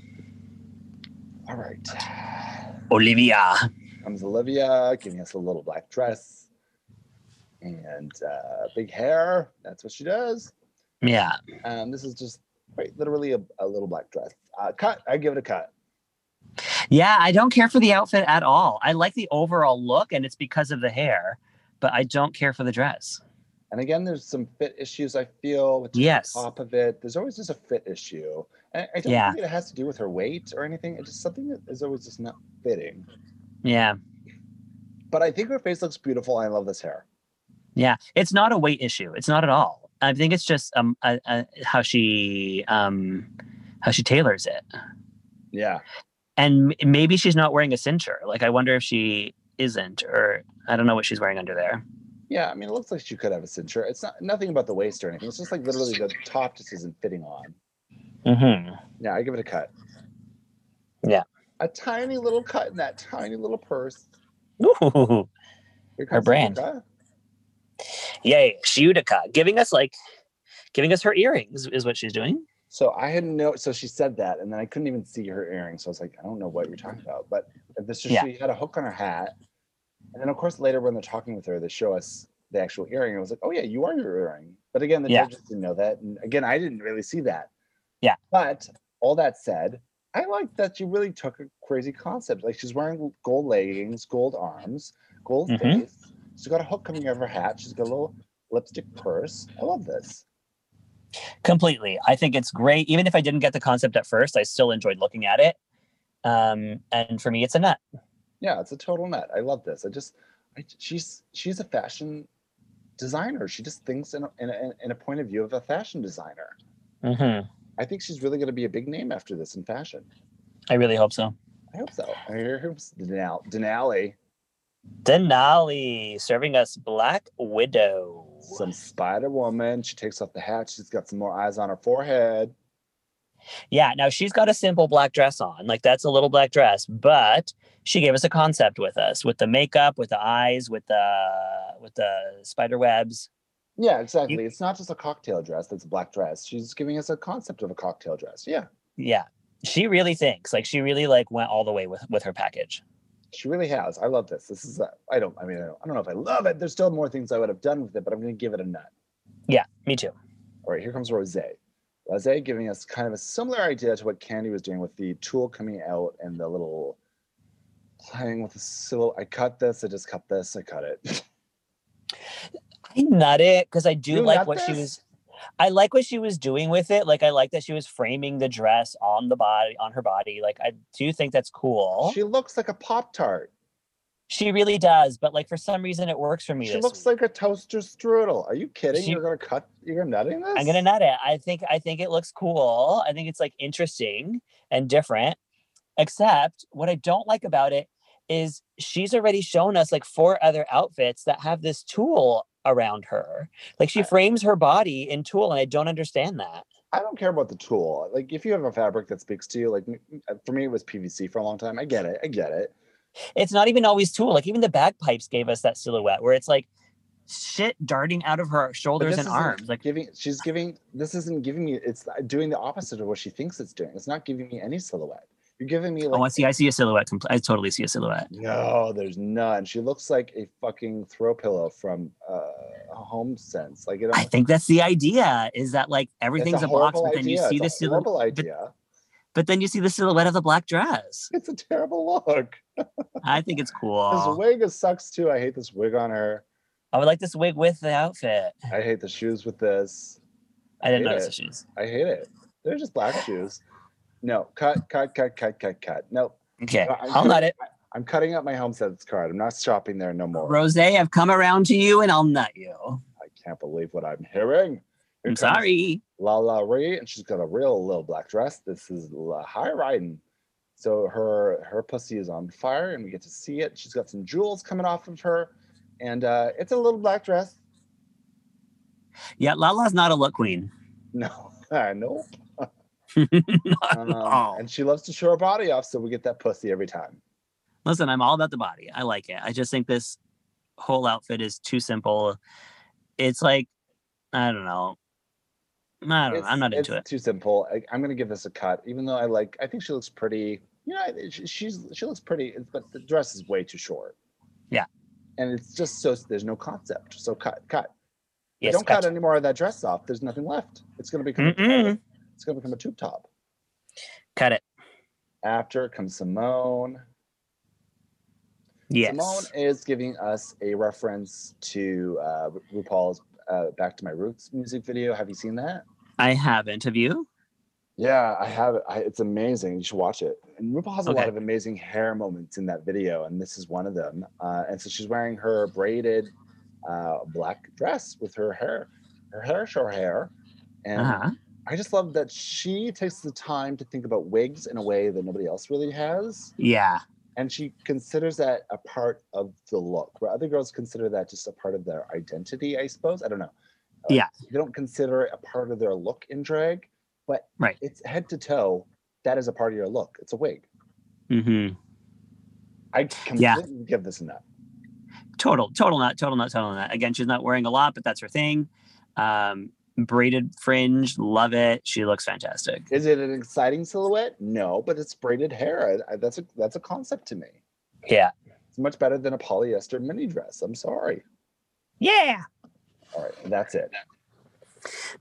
S1: all right.
S7: Olivia.
S1: Comes Olivia, giving us a little black dress and uh, big hair. That's what she does.
S7: Yeah,
S1: Um, this is just quite literally a, a little black dress. Uh, cut. I give it a cut.
S3: Yeah, I don't care for the outfit at all. I like the overall look, and it's because of the hair, but I don't care for the dress.
S1: And again, there's some fit issues I feel with
S3: Yes.
S1: top of it. There's always just a fit issue. And I don't
S3: Yeah.
S1: think it has to do with her weight or anything. It's just something that is always just not fitting.
S3: Yeah.
S1: But I think her face looks beautiful. I love this hair.
S3: Yeah, it's not a weight issue. It's not at all. I think it's just um uh, uh, how she um how she tailors it,
S1: Yeah.
S3: and m- maybe she's not wearing a cincher. Like I wonder if she isn't, or I don't know what she's wearing under there.
S1: Yeah. I mean, it looks like she could have a cincher. It's not nothing about the waist or anything. It's just like literally the top just isn't fitting on.
S3: Mm-hmm.
S1: Yeah, I give it a cut.
S3: Yeah.
S1: A tiny little cut in that tiny little purse.
S3: Ooh,
S1: Here
S3: Her brand.
S1: Erica.
S3: yay, Shiudika, giving us like giving us her earrings is what she's doing.
S1: So I had no. So she said that, and then I couldn't even see her earrings. So I was like, I don't know what you're talking about. But this just
S3: Mm-hmm. Yeah.
S1: she had a hook on her hat, and then of course later when they're talking with her, they show us the actual earring. I was like, oh yeah, you are your earring. But again, the
S3: Yeah.
S1: judges didn't know that, and again, I didn't really see that.
S3: Yeah.
S1: But all that said, I like that she really took a crazy concept. Like she's wearing gold leggings, gold arms, gold
S3: Mhm.
S1: face. She's got a hook coming out of her hat. She's got a little lipstick purse. I love this.
S3: Completely, I think it's great. Even if I didn't get the concept at first, I still enjoyed looking at it. Um, and for me, it's a nut.
S1: yeah it's a total net i love this i just I, she's she's a fashion designer she just thinks in a, in, a, in a point of view of a fashion designer
S3: Mm-hmm.
S1: i think she's really going to be a big name after this in fashion
S3: I really hope so.
S1: i hope so i hear her denali, denali
S3: Denali serving us Black Widow.
S1: some spider woman she takes off the hat she's got some more eyes on her forehead
S3: Yeah, now she's got a simple black dress on. Like that's a little black dress, but she gave us a concept with us, with the makeup, with the eyes, with the with the spider webs.
S1: yeah exactly it's not just a cocktail dress that's a black dress she's giving us a concept of a cocktail dress yeah
S3: Yeah. She really thinks. Like she really like went all the way with with her package.
S1: She really has. I love this. This is. A, I don't. I mean, I don't, I don't know if I love it. There's still more things I would have done with it, but I'm going to give it a nut.
S3: Yeah, me too.
S1: All right, here comes Rose. Rose giving us kind of a similar idea to what Candy was doing with the tool coming out and the little playing with the silhouette. I cut this. I just cut this. I cut it.
S3: I nut it because I do
S1: You nut
S3: like what she
S1: this?
S3: was I like what she was doing with it. Like I like that she was framing the dress on the body on her body. Like I do think that's cool.
S1: She looks like a pop tart.
S3: She really does, but like for some reason it works for me.
S1: She
S3: this
S1: looks
S3: week.
S1: like a toaster strudel. Are you kidding?
S3: She-
S1: you're gonna cut. You're nutting this.
S3: I'm gonna nut it. I think I think it looks cool. I think it's like interesting and different. Except what I don't like about it is she's already shown us like four other outfits that have this tool around her. Like she frames her body in tulle, and I don't understand that.
S1: I don't care about the tool. Like if you have a fabric that speaks to you, like m- uh, for me it was PVC for a long time. I get it. I get it.
S3: It's not even always tulle. Like even the bagpipes gave us that silhouette where it's like shit darting out of her
S1: But
S3: shoulders
S1: this
S3: and
S1: isn't
S3: arms. Like
S1: giving she's giving this isn't giving me it's doing the opposite of what she thinks it's doing it's not giving me any silhouette you're giving me
S3: oh, I
S1: like
S3: see. I see a silhouette. compl- I totally see a silhouette.
S1: no there's none she looks like a fucking throw pillow from uh home sense like it
S3: I think that's the idea. Is that like everything's a, box,
S1: horrible
S3: but then you
S1: idea.
S3: see the
S1: it's a
S3: silhouette.
S1: horrible idea [LAUGHS]
S3: but then you see the silhouette of the black dress.
S1: it's a terrible look
S3: I think
S1: [LAUGHS]
S3: it's
S1: this
S3: cool.
S1: wig is sucks too i hate this wig on her
S3: I would like this wig with the outfit.
S1: i hate the shoes with this
S3: I didn't
S1: Hate
S3: notice
S1: it.
S3: the shoes.
S1: i hate it they're just black shoes no cut cut cut cut cut cut nope
S3: Okay,
S1: I-
S3: I'll nut it.
S1: i'm cutting up my home sense card i'm not shopping there no more
S3: Rose, I've come around to you and I'll nut you.
S1: I can't believe what I'm hearing. Here
S3: I'm
S1: comes
S3: sorry.
S1: La La Ree, and she's got a real little black dress. This is la high riding. So her her pussy is on fire, and we get to see it. She's got some jewels coming off of her, and uh, it's a little black dress. [LAUGHS]
S3: Yeah, Lala's not a look queen.
S1: No, [LAUGHS]
S3: [LAUGHS]
S1: nope. Um,
S3: all.
S1: and she loves to show her body off, so we get that pussy every time.
S3: Listen, I'm all about the body. I like it. I just think this whole outfit is too simple. It's like, I don't know. I don't know. I'm not
S1: It's-
S3: into
S1: it's
S3: it.
S1: Too simple. I, I'm gonna give this a cut, even though I like. I think she looks pretty. You know, I- she, she's she looks pretty, but the dress is way too short.
S3: Yeah.
S1: And it's just so there's no concept. So cut, cut. If you
S3: Yes,
S1: don't cut
S3: gotcha.
S1: any more of that dress off. There's nothing left. It's gonna become.
S3: Mm-mm.
S1: It's gonna become a tube top.
S3: Cut it.
S1: After comes Simone.
S8: Yes.
S1: Simone is giving us a reference to uh, RuPaul's uh, "Back to My Roots" music video. Have you seen that?
S8: I haven't. Have you?
S1: Yeah, I have it. I, it's amazing. You should watch it. And RuPaul has a lot
S8: Okay.
S1: of amazing hair moments in that video, and this is one of them. Uh, and so she's wearing her braided uh, black dress with her hair, her hair, short hair. And
S8: Uh-huh.
S1: I just love that she takes the time to think about wigs in a way that nobody else really has.
S8: Yeah.
S1: And she considers that a part of the look, where other girls consider that just a part of their identity, I suppose. I don't know. Uh,
S8: Yeah.
S1: They don't consider it a part of their look in drag, but
S8: Right.
S1: it's head to toe. That is a part of your look. It's a wig.
S8: hmm
S3: Mm-hmm.
S1: I completely
S8: Yeah.
S1: give this a nut.
S8: Total, total nut, total nut, total nut. Again, she's not wearing a lot, but that's her thing. Um, braided fringe, love it. She looks fantastic.
S1: Is it an exciting silhouette? No, but it's braided hair. I, I- that's a that's a concept to me.
S8: Yeah.
S1: It's much better than a polyester mini dress. I'm sorry.
S8: Yeah.
S1: All right, that's it.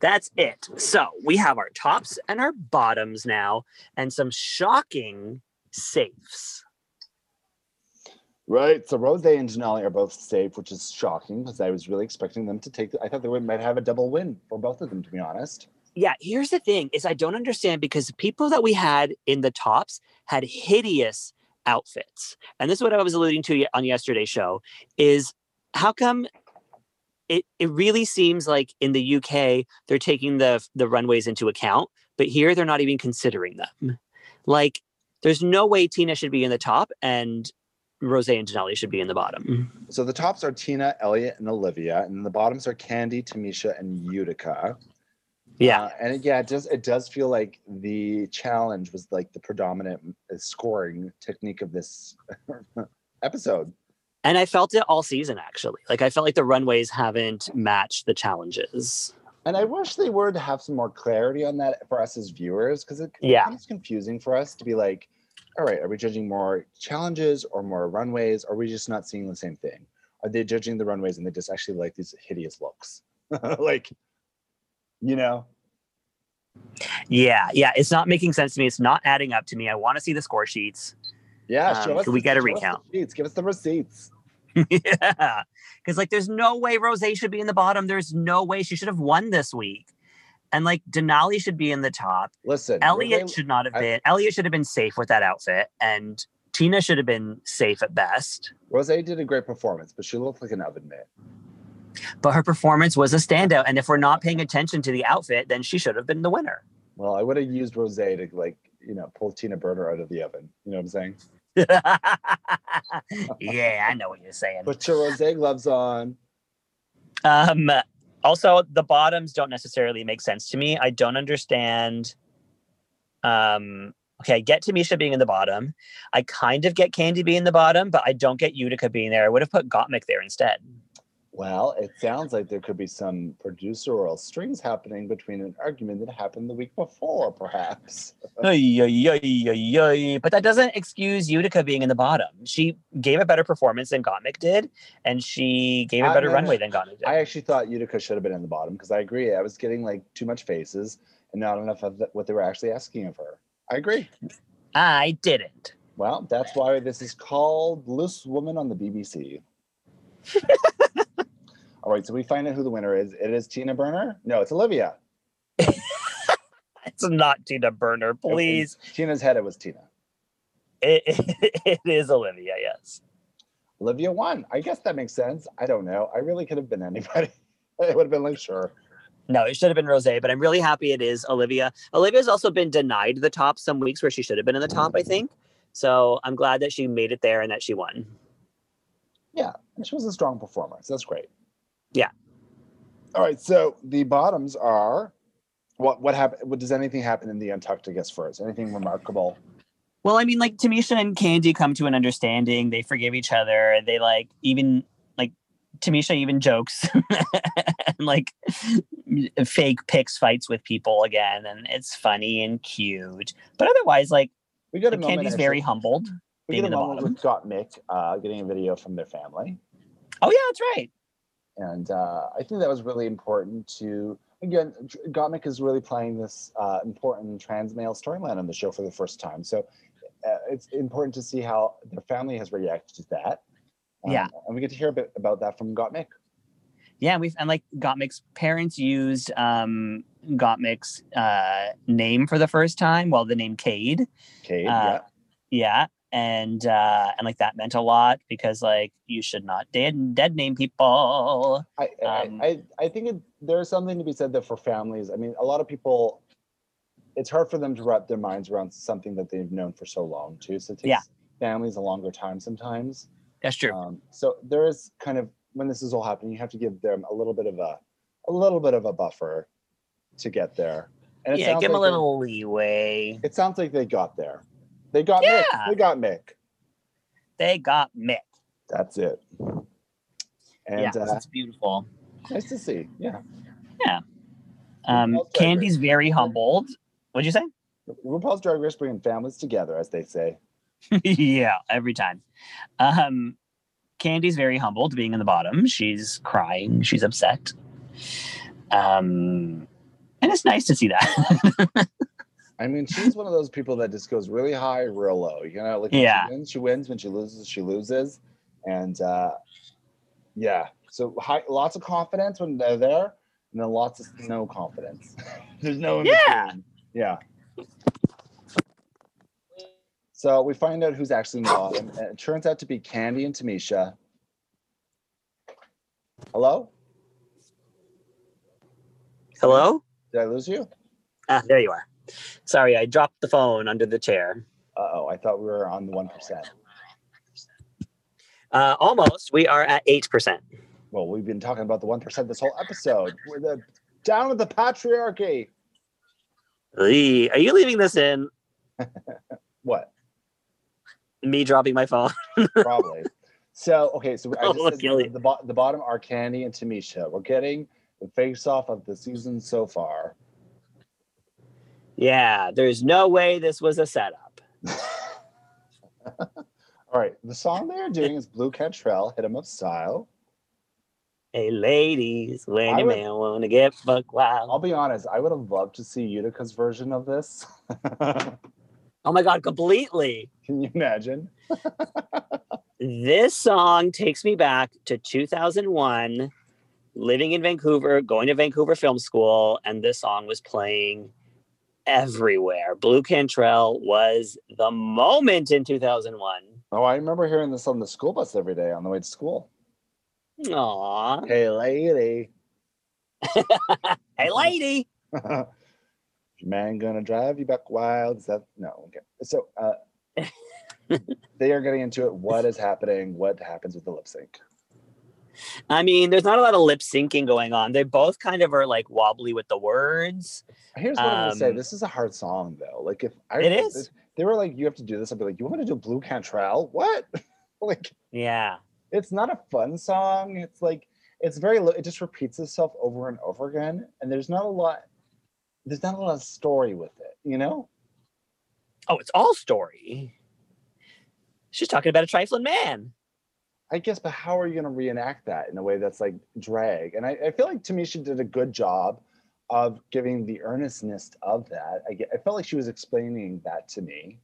S8: That's
S3: That's it. So we have our tops and our bottoms now, and some shocking safes.
S1: Right. So Rose and Denali are both safe, which is shocking because I was really expecting them to take. I thought they would might have a double win for both of them, to be honest.
S3: Yeah, here's the thing is I don't understand because the people that we had in the tops had hideous outfits. And this is what I was alluding to ye- on yesterday's show is how come it, it really seems like in the UK they're taking the the runways into account, but here they're not even considering them. Like there's no way Tina should be in the top and Rose and Denali should be in the bottom.
S1: So the tops are Tina, Elliot, and Olivia, and the bottoms are Candy, Tamisha, and Utica.
S3: Yeah.
S1: Uh, and it- yeah, it does. It does feel like the challenge was like the predominant uh, scoring technique of this [LAUGHS] episode.
S3: And I felt it all season, actually. Like, I felt like the runways haven't matched the challenges.
S1: And I wish they were to have some more clarity on that for us as viewers, because it
S3: Yeah.
S1: becomes confusing for us to be like, all right, are we judging more challenges or more runways? Are we just not seeing the same thing? Are they judging the runways and they just actually like these hideous looks? [LAUGHS] like, you know,
S3: Yeah, yeah. It's not making sense to me. It's not adding up to me. I want to see the score sheets. [LAUGHS]
S1: yeah.
S3: Um,
S1: show us
S3: can we
S1: the-
S3: get
S1: show
S3: a
S1: us the
S3: recount?
S1: receipts. Give us the receipts.
S3: yeah. Because, like, there's no way Rose should be in the bottom. There's no way she should have won this week. And, like, Denali should be in the top.
S1: Listen,
S3: Elliot
S1: Rose-
S3: should not have
S1: I-
S3: been. Elliot should have been safe with that outfit. And Tina should have been safe at best.
S1: Rose did a great performance, but she looked like an oven mitt.
S3: But her performance was a standout. And if we're not paying attention to the outfit, then she should have been the winner. [LAUGHS]
S1: Well, I would have used Rose to like, you know, pull Tina Burner out of the oven. You know what I'm saying?
S3: yeah, I know what you're saying.
S1: Put your Rose gloves on.
S3: Um, also, the bottoms don't necessarily make sense to me. I don't understand. Um, okay, I get Tamisha being in the bottom. I kind of get Candy being in the bottom, but I don't get Utica being there. I would have put Gottmik there instead.
S1: Well, it sounds like there could be some producerial strings happening between an argument that happened the week before, perhaps.
S3: Ay, ay, ay, ay, ay. But that doesn't excuse Utica being in the bottom. She gave a better performance than Gottmik did, and she gave a
S1: Uh,
S3: better
S1: no, no.
S3: runway than Gottmik did.
S1: I actually thought Utica should have been in the bottom because I agree. I was getting like too much faces and not enough of the, what they were actually asking of her. I agree.
S3: I didn't.
S1: Well, that's why this is called Loose Woman on the BBC. All right, so we find out who the winner is. It is Tina Burner. No, it's Olivia.
S3: It's not Tina Burner, please.
S1: In Tina's head, it was Tina.
S3: it, [LAUGHS] it is Olivia, yes.
S1: Olivia won. I guess that makes sense. I don't know. I really could have been anybody. [LAUGHS] I would have been like, sure.
S3: No, it should have been Rose, but I'm really happy it is Olivia. Olivia's also been denied the top some weeks where she should have been in the top, I
S8: Mm.
S3: think. So I'm glad that she made it there and that she won.
S1: And she was a strong performer, so that's great.
S3: Yeah.
S1: All right. So the bottoms are what what happened? What does anything happen in the untucked? I guess first, anything remarkable?
S8: Well, I mean, like Tamisha and Candy come to an understanding. They forgive each other. They like even like Tamisha even jokes [LAUGHS] and like fake picks fights with people again, and it's funny and cute. But otherwise, like
S1: We got a moment.
S8: Candy's
S1: actually-
S8: very humbled.
S1: We got a
S8: being in the
S1: moment with Got Mick uh, getting a video from their family,
S8: Oh yeah, that's right.
S1: and uh, I think that was really important to. Again, Gottmik is really playing this uh, important trans male storyline on the show for the first time. So uh, it's important to see how their family has reacted to that. Um,
S9: Yeah.
S1: and we get to hear a bit about that from Gottmik.
S9: yeah, we've and like Gottmik's parents used um Gottmik's uh name for the first time, well the name Cade.
S1: Cade,
S9: Uh, yeah. And uh and like that meant a lot because like you should not dead dead name people.
S1: yeah. I, I-
S9: um,
S1: I, I, think it, there's something to be said there for families. I mean, a lot of people, it's hard for them to wrap their minds around something that they've known for so long, too. So it takes
S9: Yeah.
S1: families a longer time sometimes.
S9: That's true.
S1: Um, so there is kind of when this is all happening, you have to give them a little bit of a a little bit of a buffer to get there. And it
S9: yeah,
S1: sounds
S9: give him a
S1: like they-
S9: little leeway.
S1: it sounds like they got there. They got Mick.
S9: Yeah.
S1: They got Mick.
S9: They got Mick.
S1: That's it. And
S9: yeah,
S1: uh,
S9: it's beautiful.
S1: nice to see. Yeah,
S9: Um,
S1: Well, sorry,
S9: Candy's very humbled. What'd you say?
S1: RuPaul's Drag Race bringing families together, as they say.
S9: [LAUGHS] yeah, every time. Um, Candy's very humbled being in the bottom. She's crying. She's upset. Um, and it's nice to see that. [LAUGHS]
S1: I mean, she's one of those people that just goes really high, real low. You know, like when
S9: Yeah.
S1: she wins, she wins. When she loses, she loses. And uh, yeah, so high, lots of confidence when they're there, and then lots of no confidence. [LAUGHS] There's no in
S9: Yeah.
S1: between. Yeah. So we find out who's actually in the bottom, and it turns out to be Candy and Tamisha. Hello,
S3: Hello?
S1: did I lose you?
S3: Ah, there you are. Sorry, I dropped the phone under the chair.
S1: Uh oh, I thought we were on the one percent.
S3: Uh, almost. We are at 8%.
S1: well, we've been talking about the one percent this whole episode. We're the down with the patriarchy.
S3: Lee, Are you leaving this in?
S1: What?
S3: Me dropping my phone? [LAUGHS]
S1: Probably. so okay, so I
S3: Oh,
S1: just said
S3: Gillian.
S1: the, bo- the bottom are Candy and Tamisha. We're getting the face off of the season so far.
S3: yeah, there's no way this was a setup.
S1: All right, the song they're doing is Blue Cantrell, Hit 'em Up Style.
S3: Hey, ladies, when
S1: I
S3: your
S1: would-
S3: man wanna get buck
S1: I'll
S3: wild.
S1: be honest, I would have loved to see Utica's version of this. [LAUGHS]
S3: Oh my god, completely.
S1: Can you imagine?
S3: This song takes me back to 2001, living in Vancouver, going to Vancouver Film School, and this song was playing everywhere. Blue Cantrell was the moment in 2001.
S1: Oh, I remember hearing this on the school bus every day on the way to school.
S3: Aw.
S1: Hey, lady.
S3: Hey, lady.
S1: [LAUGHS] Your man gonna drive you back wild. Is that no? Okay. So uh,
S3: [LAUGHS]
S1: they are getting into it. What is happening? What happens with the lip sync?
S3: I mean, there's not a lot of lip syncing going on. They both kind of are like wobbly with the words.
S1: Here's what I'm gonna say.
S3: Um,
S1: This is a hard song though. Like if I
S3: It is.
S1: if they were like, you have to do this. I'd be like, you want me to do Blue Cantrell? What? [LAUGHS] like
S3: Yeah.
S1: it's not a fun song. It's like it's very low. It just repeats itself over and over again, and there's not a lot. There's not a lot of story with it. You know.
S3: Oh, it's all story. She's talking about a trifling man.
S1: I guess, but how are you going to reenact that in a way that's like drag? And I, I feel like Tamisha did a good job of giving the earnestness of that. I, ge- I felt like she was explaining that to me.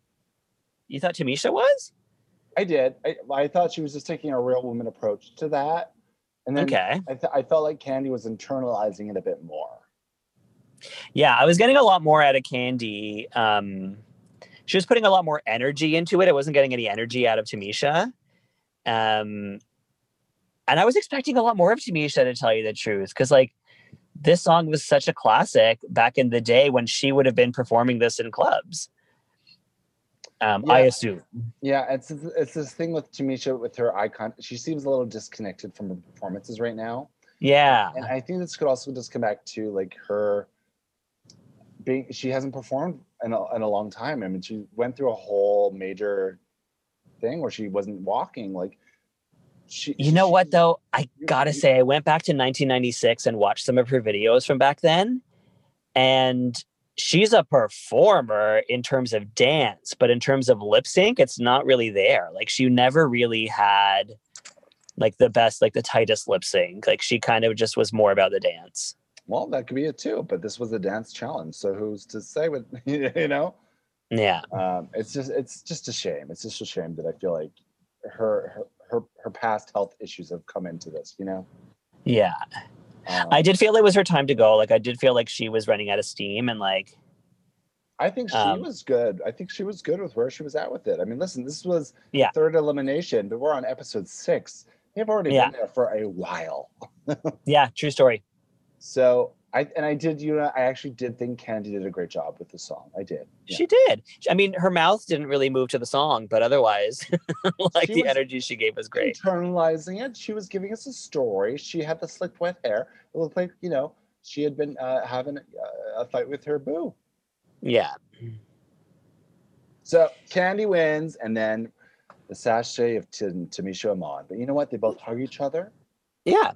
S3: You thought Tamisha was?
S1: I did. I, I thought she was just taking a real woman approach to that. And then
S3: Okay.
S1: I, th- I felt like Candy was internalizing it a bit more.
S3: Yeah, I was getting a lot more out of Candy. Um, she was putting a lot more energy into it. I wasn't getting any energy out of Tamisha. Um, and I was expecting a lot more of Tamisha to tell you the truth. Because, like, this song was such a classic back in the day when she would have been performing this in clubs. Um, I
S1: Yeah.
S3: assume.
S1: Yeah, it's it's this thing with Tamisha with her icon. She seems a little disconnected from her performances right now.
S3: Yeah.
S1: and I think this could also just come back to like her being she hasn't performed in a, in a long time. I mean, she went through a whole major thing where she wasn't walking. Like she,
S3: You know what
S1: she-
S3: though? I
S1: you-
S3: gotta
S1: you-
S3: say, I went back to 1996 and watched some of her videos from back then, and she's a performer in terms of dance, but in terms of lip sync, it's not really there. Like she never really had like the best, like the tightest lip sync. Like she kind of just was more about the dance.
S1: Well, that could be it too. But this was a dance challenge, so who's to say what [LAUGHS] you know?
S3: Yeah.
S1: um, it's just it's just a shame. It's just a shame that I feel like her her her, her past health issues have come into this. You know,
S3: Yeah.
S1: um,
S3: I did feel it was her time to go. Like I did feel like she was running out of steam and like
S1: I think she
S3: um,
S1: was good. I think she was good with where she was at with it. I mean, listen, this was the
S3: Yeah.
S1: third elimination, but we're on episode six. They've already
S3: Yeah.
S1: been there for a while.
S3: yeah, true story.
S1: So I and I did, you know, I actually did think Candy did a great job with the song. I did. Yeah.
S3: She did. I mean, her mouth didn't really move to the song, but otherwise [LAUGHS] like
S1: She
S3: the
S1: was-
S3: energy she gave was great.
S1: internalizing it. She was giving us a story. She had the slick wet hair. It looked like you know she had been uh, having uh, a fight with her boo.
S3: Yeah.
S1: So Candy wins, and then the sachet of Tim, Tamisha Amon. But you know what? They both hug each other,
S3: Yeah.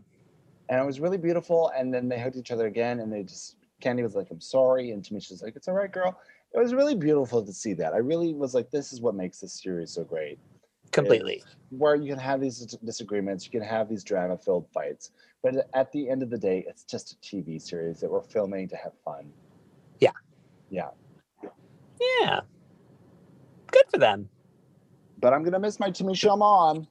S1: and it was really beautiful. And then they hugged each other again, and they just Candy was like, "I'm sorry," and Tamisha's like, "It's all right, girl." It was really beautiful to see that. I really was like, "This is what makes this series so great."
S3: Completely.
S1: where you can have these dis- disagreements, you can have these drama filled fights, but at the end of the day, it's just a TV series that we're filming to have fun.
S3: Yeah. Good for them.
S1: But I'm gonna miss my Tamisha Amon.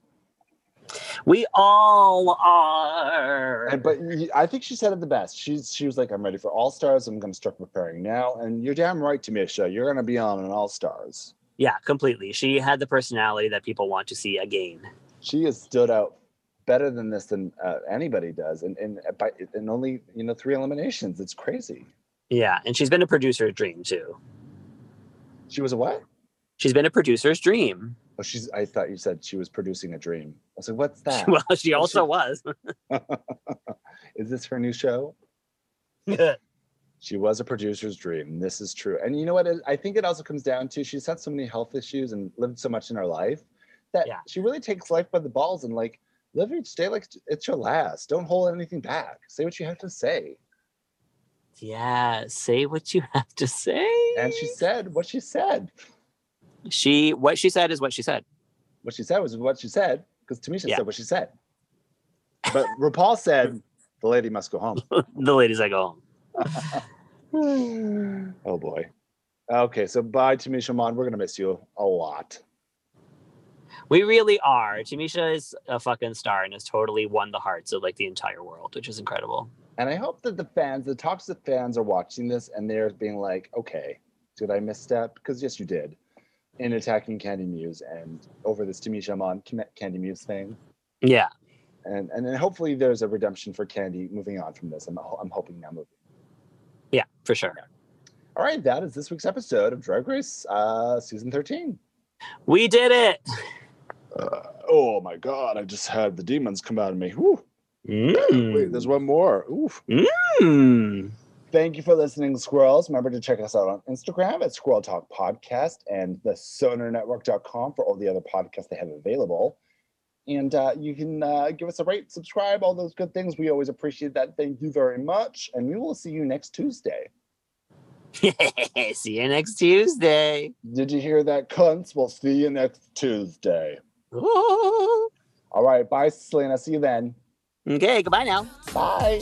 S3: We all are.
S1: And- But y- I think she said it the best. She's she was like, "I'm ready for All Stars. I'm gonna start preparing now." And you're damn right, Tamisha. You're gonna be on an All Stars.
S3: Yeah, completely. She had the personality that people want to see again.
S1: She has stood out better than this than uh, anybody does, and and by and only you know three eliminations. It's crazy.
S3: Yeah, and she's been a producer's dream too.
S1: She was a what?
S3: She's been a producer's dream. [LAUGHS]
S1: Oh, she's. I thought you said she was producing a dream. I was like, "What's that?"
S3: Well, she also was. [LAUGHS]
S1: is this her new show? She was a producer's dream. This is true. And you know what? I think it also comes down to she's had so many health issues and lived so much in her life that
S3: Yeah.
S1: she really takes life by the balls and like live each day like it's your last. Don't hold anything back. Say what you have to say.
S3: yeah, say what you have to say.
S1: And she said what she said.
S3: she what she said is what she said.
S1: What she said was what she said because Tamisha
S3: Yeah.
S1: said what she said. But RuPaul said the lady must go home.
S3: The ladies oh, I go home.
S1: Oh boy. Okay, so bye, Tamisha Mon. We're gonna miss you a lot.
S3: we really are. Tamisha is a fucking star and has totally won the hearts of like the entire world, which is incredible.
S1: And I hope that the fans, the toxic fans, are watching this and they're being like, okay, did I misstep? Because yes, you did in attacking Candy Muse and over this Tamisha Mon Candy Muse thing.
S3: Yeah.
S1: And and then hopefully there's a redemption for Candy moving on from this. I'm, ho- I'm hoping now moving.
S3: Yeah, for sure.
S1: All right, that is this week's episode of Drag Race uh, season 13.
S3: We did it.
S1: Oh my God, I just had the demons come out of me. Whew. Wait, there's one more. Oof.
S3: [LAUGHS] Mm.
S1: Thank you for listening, squirrels. Remember to check us out on Instagram at Squirrel Talk Podcast and the sonarnetwork.com for all the other podcasts they have available. And uh, you can uh, give us a rate, subscribe, all those good things. We always appreciate that. Thank you very much. And we will see you next Tuesday.
S3: See you next Tuesday.
S1: Did you hear that, cunts? We'll see you next Tuesday.
S3: Ooh.
S1: All right. Bye, Selena. See you then.
S3: Okay, goodbye now.
S1: Bye.